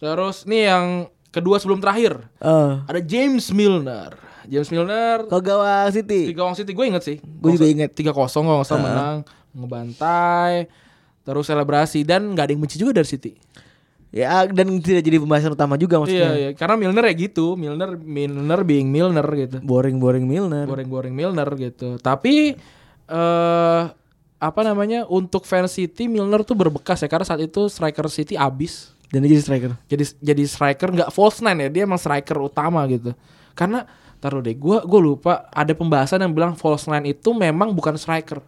[SPEAKER 2] Terus nih yang kedua sebelum terakhir
[SPEAKER 3] Eh,
[SPEAKER 2] ada James Milner. James Milner
[SPEAKER 3] Ke gawang
[SPEAKER 2] di
[SPEAKER 3] City.
[SPEAKER 2] Gawang City gue inget sih.
[SPEAKER 3] Gue juga inget.
[SPEAKER 2] tiga kosong kalau nggak salah menang ngebantai terus selebrasi dan nggak ada yang benci juga dari City.
[SPEAKER 3] Ya dan tidak jadi pembahasan utama juga
[SPEAKER 2] Iya,
[SPEAKER 3] maksudnya.
[SPEAKER 2] iya, karena Milner ya gitu, Milner Milner being Milner
[SPEAKER 3] iya.
[SPEAKER 2] gitu.
[SPEAKER 3] Boring-boring Milner.
[SPEAKER 2] Goreng-goreng Milner gitu. Tapi eh apa namanya? Untuk fans City Milner tuh berbekas ya karena saat itu striker City abis.
[SPEAKER 3] Dan dia jadi striker.
[SPEAKER 2] Jadi jadi striker nggak false nine ya, dia emang striker utama gitu. Karena taruh deh, gua gua lupa ada pembahasan yang bilang false nine itu memang bukan striker.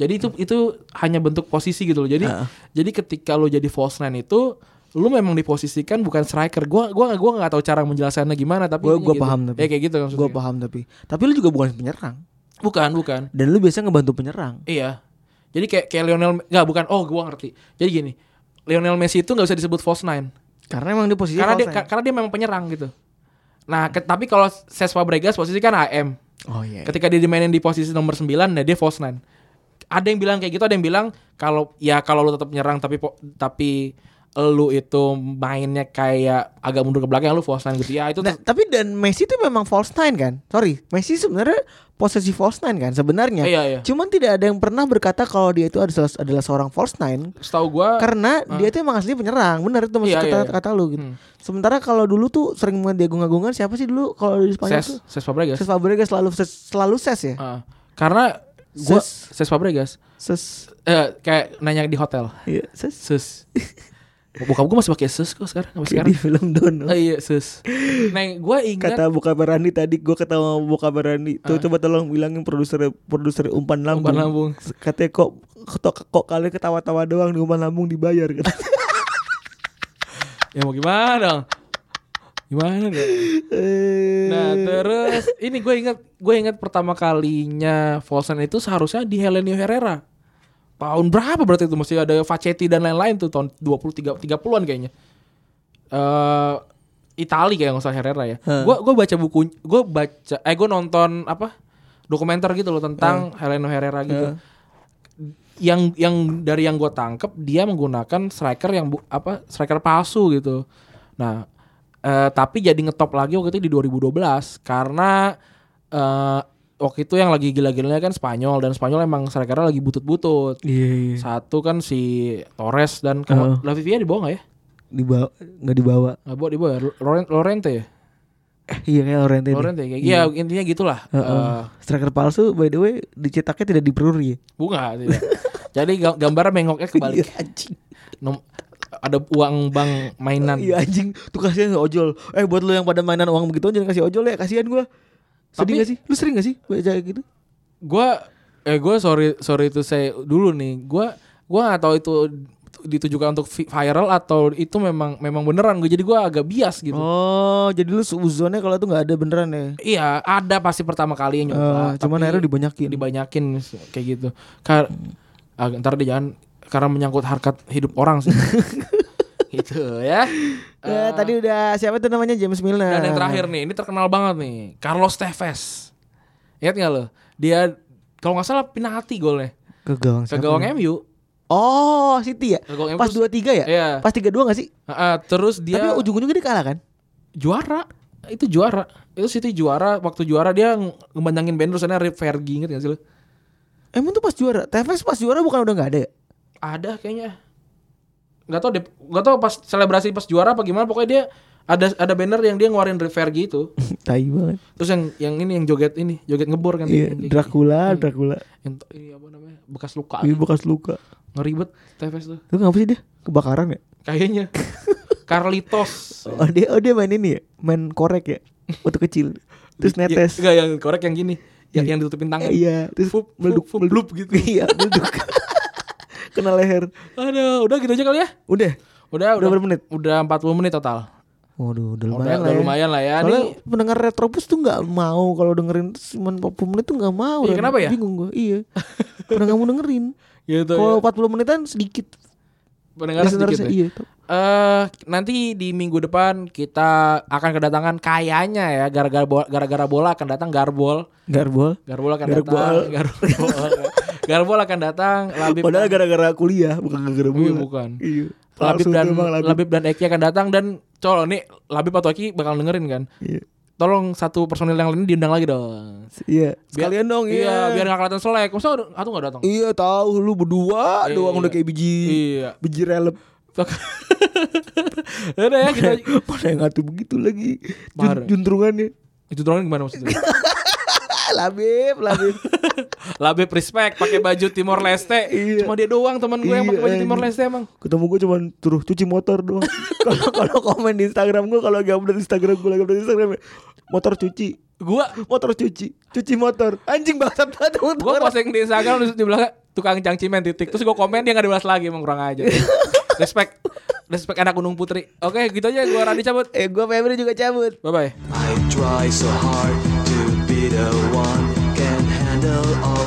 [SPEAKER 2] Jadi itu itu hanya bentuk posisi gitu loh. Jadi
[SPEAKER 3] Ah.
[SPEAKER 2] jadi ketika lo jadi false nine itu lu memang diposisikan bukan striker. Gua gua gua nggak tahu cara menjelasannya gimana tapi
[SPEAKER 3] Gua-
[SPEAKER 2] intinya
[SPEAKER 3] gua
[SPEAKER 2] gitu.
[SPEAKER 3] paham tapi.
[SPEAKER 2] Ya kayak gitu maksudnya.
[SPEAKER 3] Gue paham tapi. Tapi lu juga bukan penyerang.
[SPEAKER 2] Bukan, bukan.
[SPEAKER 3] Dan lu biasanya ngebantu penyerang.
[SPEAKER 2] Iya. Jadi kayak kayak Lionel nggak bukan. Oh, gua ngerti. Jadi gini, Lionel Messi itu nggak bisa disebut false nine
[SPEAKER 3] Karena emang dia posisinya
[SPEAKER 2] karena dia
[SPEAKER 3] false nine.
[SPEAKER 2] ka- karena dia memang penyerang gitu. Nah, ke- tapi kalau Ses Fabregas posisi kan AM.
[SPEAKER 3] Oh iya.
[SPEAKER 2] Ketika dia dimainin di posisi nomor 9, nah dia false nine. Ada yang bilang kayak gitu, ada yang bilang kalau ya kalau lu tetap nyerang tapi po- tapi lu itu mainnya kayak agak mundur ke belakang lu false nine gitu. Ya itu
[SPEAKER 3] Nah, tapi dan Messi itu memang false nine kan? Sorry, Messi sebenarnya posisi false nine kan sebenarnya.
[SPEAKER 2] Iya, iya.
[SPEAKER 3] Cuman tidak ada yang pernah berkata kalau dia itu adalah, adalah seorang false nine
[SPEAKER 2] setahu gua
[SPEAKER 3] karena dia itu emang asli penyerang. Benar itu maksud
[SPEAKER 2] Eh, Iya,
[SPEAKER 3] kata,
[SPEAKER 2] iya, iya.
[SPEAKER 3] kata lu gitu.
[SPEAKER 2] Hmm.
[SPEAKER 3] Sementara kalau dulu tuh sering banget diagung-agungkan siapa sih dulu kalau di Spanyol tuh?
[SPEAKER 2] Ses Ses Fabregas.
[SPEAKER 3] Ses Fabregas selalu ses, selalu ses ya.
[SPEAKER 2] Ah, karena gua
[SPEAKER 3] Ses.
[SPEAKER 2] Ses Fabregas
[SPEAKER 3] Ses
[SPEAKER 2] eh, kayak nanya di hotel.
[SPEAKER 3] iya, ses. *laughs*
[SPEAKER 2] Sus. Bokap gue masih pakai sus kok sekarang
[SPEAKER 3] Kayak
[SPEAKER 2] sampai sekarang.
[SPEAKER 3] di film Dono.
[SPEAKER 2] Oh iya sus. Neng, gue ingat
[SPEAKER 3] Kata Buka Berani tadi gue ketemu sama Buka Berani. Tuh coba tolong bilangin produser produser Ah. umpan lambung.
[SPEAKER 2] Umpan lambung.
[SPEAKER 3] Katanya kok kok, kok kalian ketawa-tawa doang di umpan lambung dibayar *laughs* kata.
[SPEAKER 2] ya mau gimana dong? Gimana dong? Nah terus ini gue ingat gue ingat pertama kalinya Folsen itu seharusnya di Helenio Herrera. Tahun berapa berarti itu mesti ada Facetti dan lain-lain tuh tahun 20 30 30-an kayaknya. Eh Itali kayak nggak salah Herrera ya.
[SPEAKER 3] Hmm.
[SPEAKER 2] Gue gue baca buku gue baca eh gue nonton apa dokumenter gitu loh tentang Helenio Herrera gitu.
[SPEAKER 3] Hmm.
[SPEAKER 2] yang yang dari yang gue tangkep dia menggunakan striker yang bu, apa striker palsu gitu. Nah, eh, tapi jadi ngetop lagi waktu itu di 2012 karena eh, waktu itu yang lagi gila-gilanya kan Spanyol dan Spanyol emang strikernya lagi butut-butut.
[SPEAKER 3] Iya iya.
[SPEAKER 2] Satu kan si Torres dan kalau
[SPEAKER 3] Heeh.
[SPEAKER 2] Lavivia dibawa nggak ya?
[SPEAKER 3] Dibawa nggak dibawa.
[SPEAKER 2] Nggak bawa dibawa ya? Loren- Lorente ya?
[SPEAKER 3] Eh, iya kayak Lorente. deh.
[SPEAKER 2] Lorente kayak
[SPEAKER 3] Iya.
[SPEAKER 2] ya intinya gitulah.
[SPEAKER 3] Heeh.
[SPEAKER 2] Eh,
[SPEAKER 3] Striker palsu by the way dicetaknya tidak diperuri. Iya,
[SPEAKER 2] bunga tidak. jadi ga- gambarnya mengoknya
[SPEAKER 3] *laughs*
[SPEAKER 2] kebalik.
[SPEAKER 3] anjing.
[SPEAKER 2] Nom- ada uang bank mainan.
[SPEAKER 3] Iya anjing. Tuh kasihan nggak ojol. Eh buat lu yang pada mainan uang begitu jangan kasih ojol ya. Kasihan gue. Sedih
[SPEAKER 2] Tapi-
[SPEAKER 3] gak sih? Lu sering gak sih baca gitu?
[SPEAKER 2] gua eh gua sorry sorry itu saya dulu nih gua gua nggak tahu itu ditujukan untuk vi- viral atau itu memang memang beneran gue jadi gua agak bias gitu
[SPEAKER 3] Oh, jadi lu seuzonnya kalau itu nggak ada beneran ya.
[SPEAKER 2] iya ada pasti pertama kali yang nyoba
[SPEAKER 3] Eh, cuman
[SPEAKER 2] ah, tapi
[SPEAKER 3] akhirnya dibanyakin. Hmm.
[SPEAKER 2] dibanyakin kayak gitu
[SPEAKER 3] *laughs*
[SPEAKER 2] Kar ah, ntar deh jangan karena menyangkut harkat hidup orang sih gitu ya.
[SPEAKER 3] Ya, tadi udah siapa tuh namanya James Milner.
[SPEAKER 2] Dan yang terakhir nih, ini terkenal banget nih, Carlos Tevez. Ingat nggak lo? Dia kalau nggak salah penalti golnya
[SPEAKER 3] ke gawang
[SPEAKER 2] ke
[SPEAKER 3] siapa? ya?
[SPEAKER 2] gawang MU.
[SPEAKER 3] Oh, City ya.
[SPEAKER 2] Ke gawang
[SPEAKER 3] Pas
[SPEAKER 2] terus-
[SPEAKER 3] 2-3 ya?
[SPEAKER 2] Iya.
[SPEAKER 3] Pas 3-2 gak sih?
[SPEAKER 2] Ah, ah, terus dia
[SPEAKER 3] Tapi ujung-ujungnya dia kalah kan?
[SPEAKER 2] juara itu juara itu City juara waktu juara dia ng- ngebandangin band terus Rip Fergie inget gak sih lu
[SPEAKER 3] Emang tuh pas juara. Tevez pas juara bukan udah gak ada ya?
[SPEAKER 2] ada kayaknya nggak tau deh nggak tau pas selebrasi pas juara apa gimana pokoknya dia ada ada banner yang dia ngeluarin Rip Fergie itu
[SPEAKER 3] *laughs* Tai banget.
[SPEAKER 2] terus yang yang ini yang joget ini joget ngebor kan
[SPEAKER 3] Iya,
[SPEAKER 2] Yang kayak
[SPEAKER 3] Dracula, Dracula.
[SPEAKER 2] gini. yang, to- ini apa namanya bekas luka
[SPEAKER 3] Ini bekas luka.
[SPEAKER 2] ngeribet Tevez tuh
[SPEAKER 3] Itu ngapa sih dia? Kebakaran ya? *laughs*
[SPEAKER 2] kayaknya Carlitos
[SPEAKER 3] Oh dia, oh dia main ini ya? Main korek
[SPEAKER 2] *laughs*
[SPEAKER 3] ya? Waktu kecil. Terus
[SPEAKER 2] Ya,
[SPEAKER 3] netes.
[SPEAKER 2] nggak, yang korek yang gini yang yang ditutupin tangan
[SPEAKER 3] Iya. Terus
[SPEAKER 2] Fup, fup,
[SPEAKER 3] meleduk,
[SPEAKER 2] fup,
[SPEAKER 3] meleduk.
[SPEAKER 2] blup gitu
[SPEAKER 3] *laughs* Iya,
[SPEAKER 2] *laughs*
[SPEAKER 3] meleduk. Kena leher.
[SPEAKER 2] aduh udah gitu aja kali ya
[SPEAKER 3] Udah.
[SPEAKER 2] Udah,
[SPEAKER 3] Udah berapa menit?
[SPEAKER 2] Udah 40 menit total.
[SPEAKER 3] Waduh, udah
[SPEAKER 2] Udah
[SPEAKER 3] lumayan
[SPEAKER 2] udah
[SPEAKER 3] lah ya.
[SPEAKER 2] lumayan lah ya.
[SPEAKER 3] Soalnya
[SPEAKER 2] Ini
[SPEAKER 3] pendengar Retropus tuh nggak mau kalau dengerin cuma 40 menit tuh nggak mau.
[SPEAKER 2] Iya,
[SPEAKER 3] Dan
[SPEAKER 2] kenapa ya?
[SPEAKER 3] Bingung gue. Iya.
[SPEAKER 2] *laughs*
[SPEAKER 3] Karena nggak mau dengerin.
[SPEAKER 2] gitu.
[SPEAKER 3] Kalau
[SPEAKER 2] Ya.
[SPEAKER 3] 40 menitan sedikit.
[SPEAKER 2] Pendengar
[SPEAKER 3] Listenersnya,
[SPEAKER 2] sedikit.
[SPEAKER 3] Iya.
[SPEAKER 2] ya. Eh, nanti di minggu depan kita akan kedatangan kayaknya ya gara-gara bola, gara-gara bola akan datang Garbol.
[SPEAKER 3] Garbol.
[SPEAKER 2] Garbol akan
[SPEAKER 3] Garbol.
[SPEAKER 2] datang. Garbol. *laughs* Garbol akan datang. Labib
[SPEAKER 3] Padahal gara-gara kuliah bukan gara-gara
[SPEAKER 2] Iya,
[SPEAKER 3] bola.
[SPEAKER 2] bukan.
[SPEAKER 3] Iya.
[SPEAKER 2] Labib
[SPEAKER 3] Langsung
[SPEAKER 2] dan
[SPEAKER 3] tuh emang
[SPEAKER 2] Labib. dan Eki akan datang dan Colo nih Labib atau Eki bakal dengerin kan.
[SPEAKER 3] Iya.
[SPEAKER 2] Tolong satu personil yang lain diundang lagi dong.
[SPEAKER 3] Iya.
[SPEAKER 2] Biar-
[SPEAKER 3] Sekalian dong
[SPEAKER 2] Iya,
[SPEAKER 3] iya.
[SPEAKER 2] biar gak kelihatan selek. Masa atau gak datang? *laughs*
[SPEAKER 3] Iya tahu lu berdua
[SPEAKER 2] Iya.
[SPEAKER 3] doang udah kayak biji
[SPEAKER 2] Iya.
[SPEAKER 3] biji relep.
[SPEAKER 2] Udah ya kita
[SPEAKER 3] *laughs* Mana yang ngatu begitu lagi
[SPEAKER 2] Parah.
[SPEAKER 3] Jun- juntrungannya.
[SPEAKER 2] itu drone gimana maksudnya?
[SPEAKER 3] Ah, labib, labib. *laughs*
[SPEAKER 2] Labib respect pakai baju Timor Leste.
[SPEAKER 3] Iya.
[SPEAKER 2] Cuma dia doang teman gue yang
[SPEAKER 3] Iya,
[SPEAKER 2] pakai baju Timor
[SPEAKER 3] anjing.
[SPEAKER 2] Leste emang.
[SPEAKER 3] ketemu gue cuman suruh cuci motor
[SPEAKER 2] *laughs*
[SPEAKER 3] doang kalau kalau komen di Instagram gue kalau gak update Instagram gue lagi update Instagram ya, motor cuci
[SPEAKER 2] Gua
[SPEAKER 3] motor cuci cuci motor anjing bangsat banget emang tuh
[SPEAKER 2] gua
[SPEAKER 3] orang.
[SPEAKER 2] posting di Instagram terus di belakang tukang cangcimen titik. Terus gua komen dia gak dibalas lagi emang kurang
[SPEAKER 3] *laughs*
[SPEAKER 2] aja. respect. Respect anak Gunung Putri. Oke, gitu aja gua Randi cabut.
[SPEAKER 3] eh gue Febri juga cabut
[SPEAKER 2] Bye bye.
[SPEAKER 5] I try so hard to be the one can handle all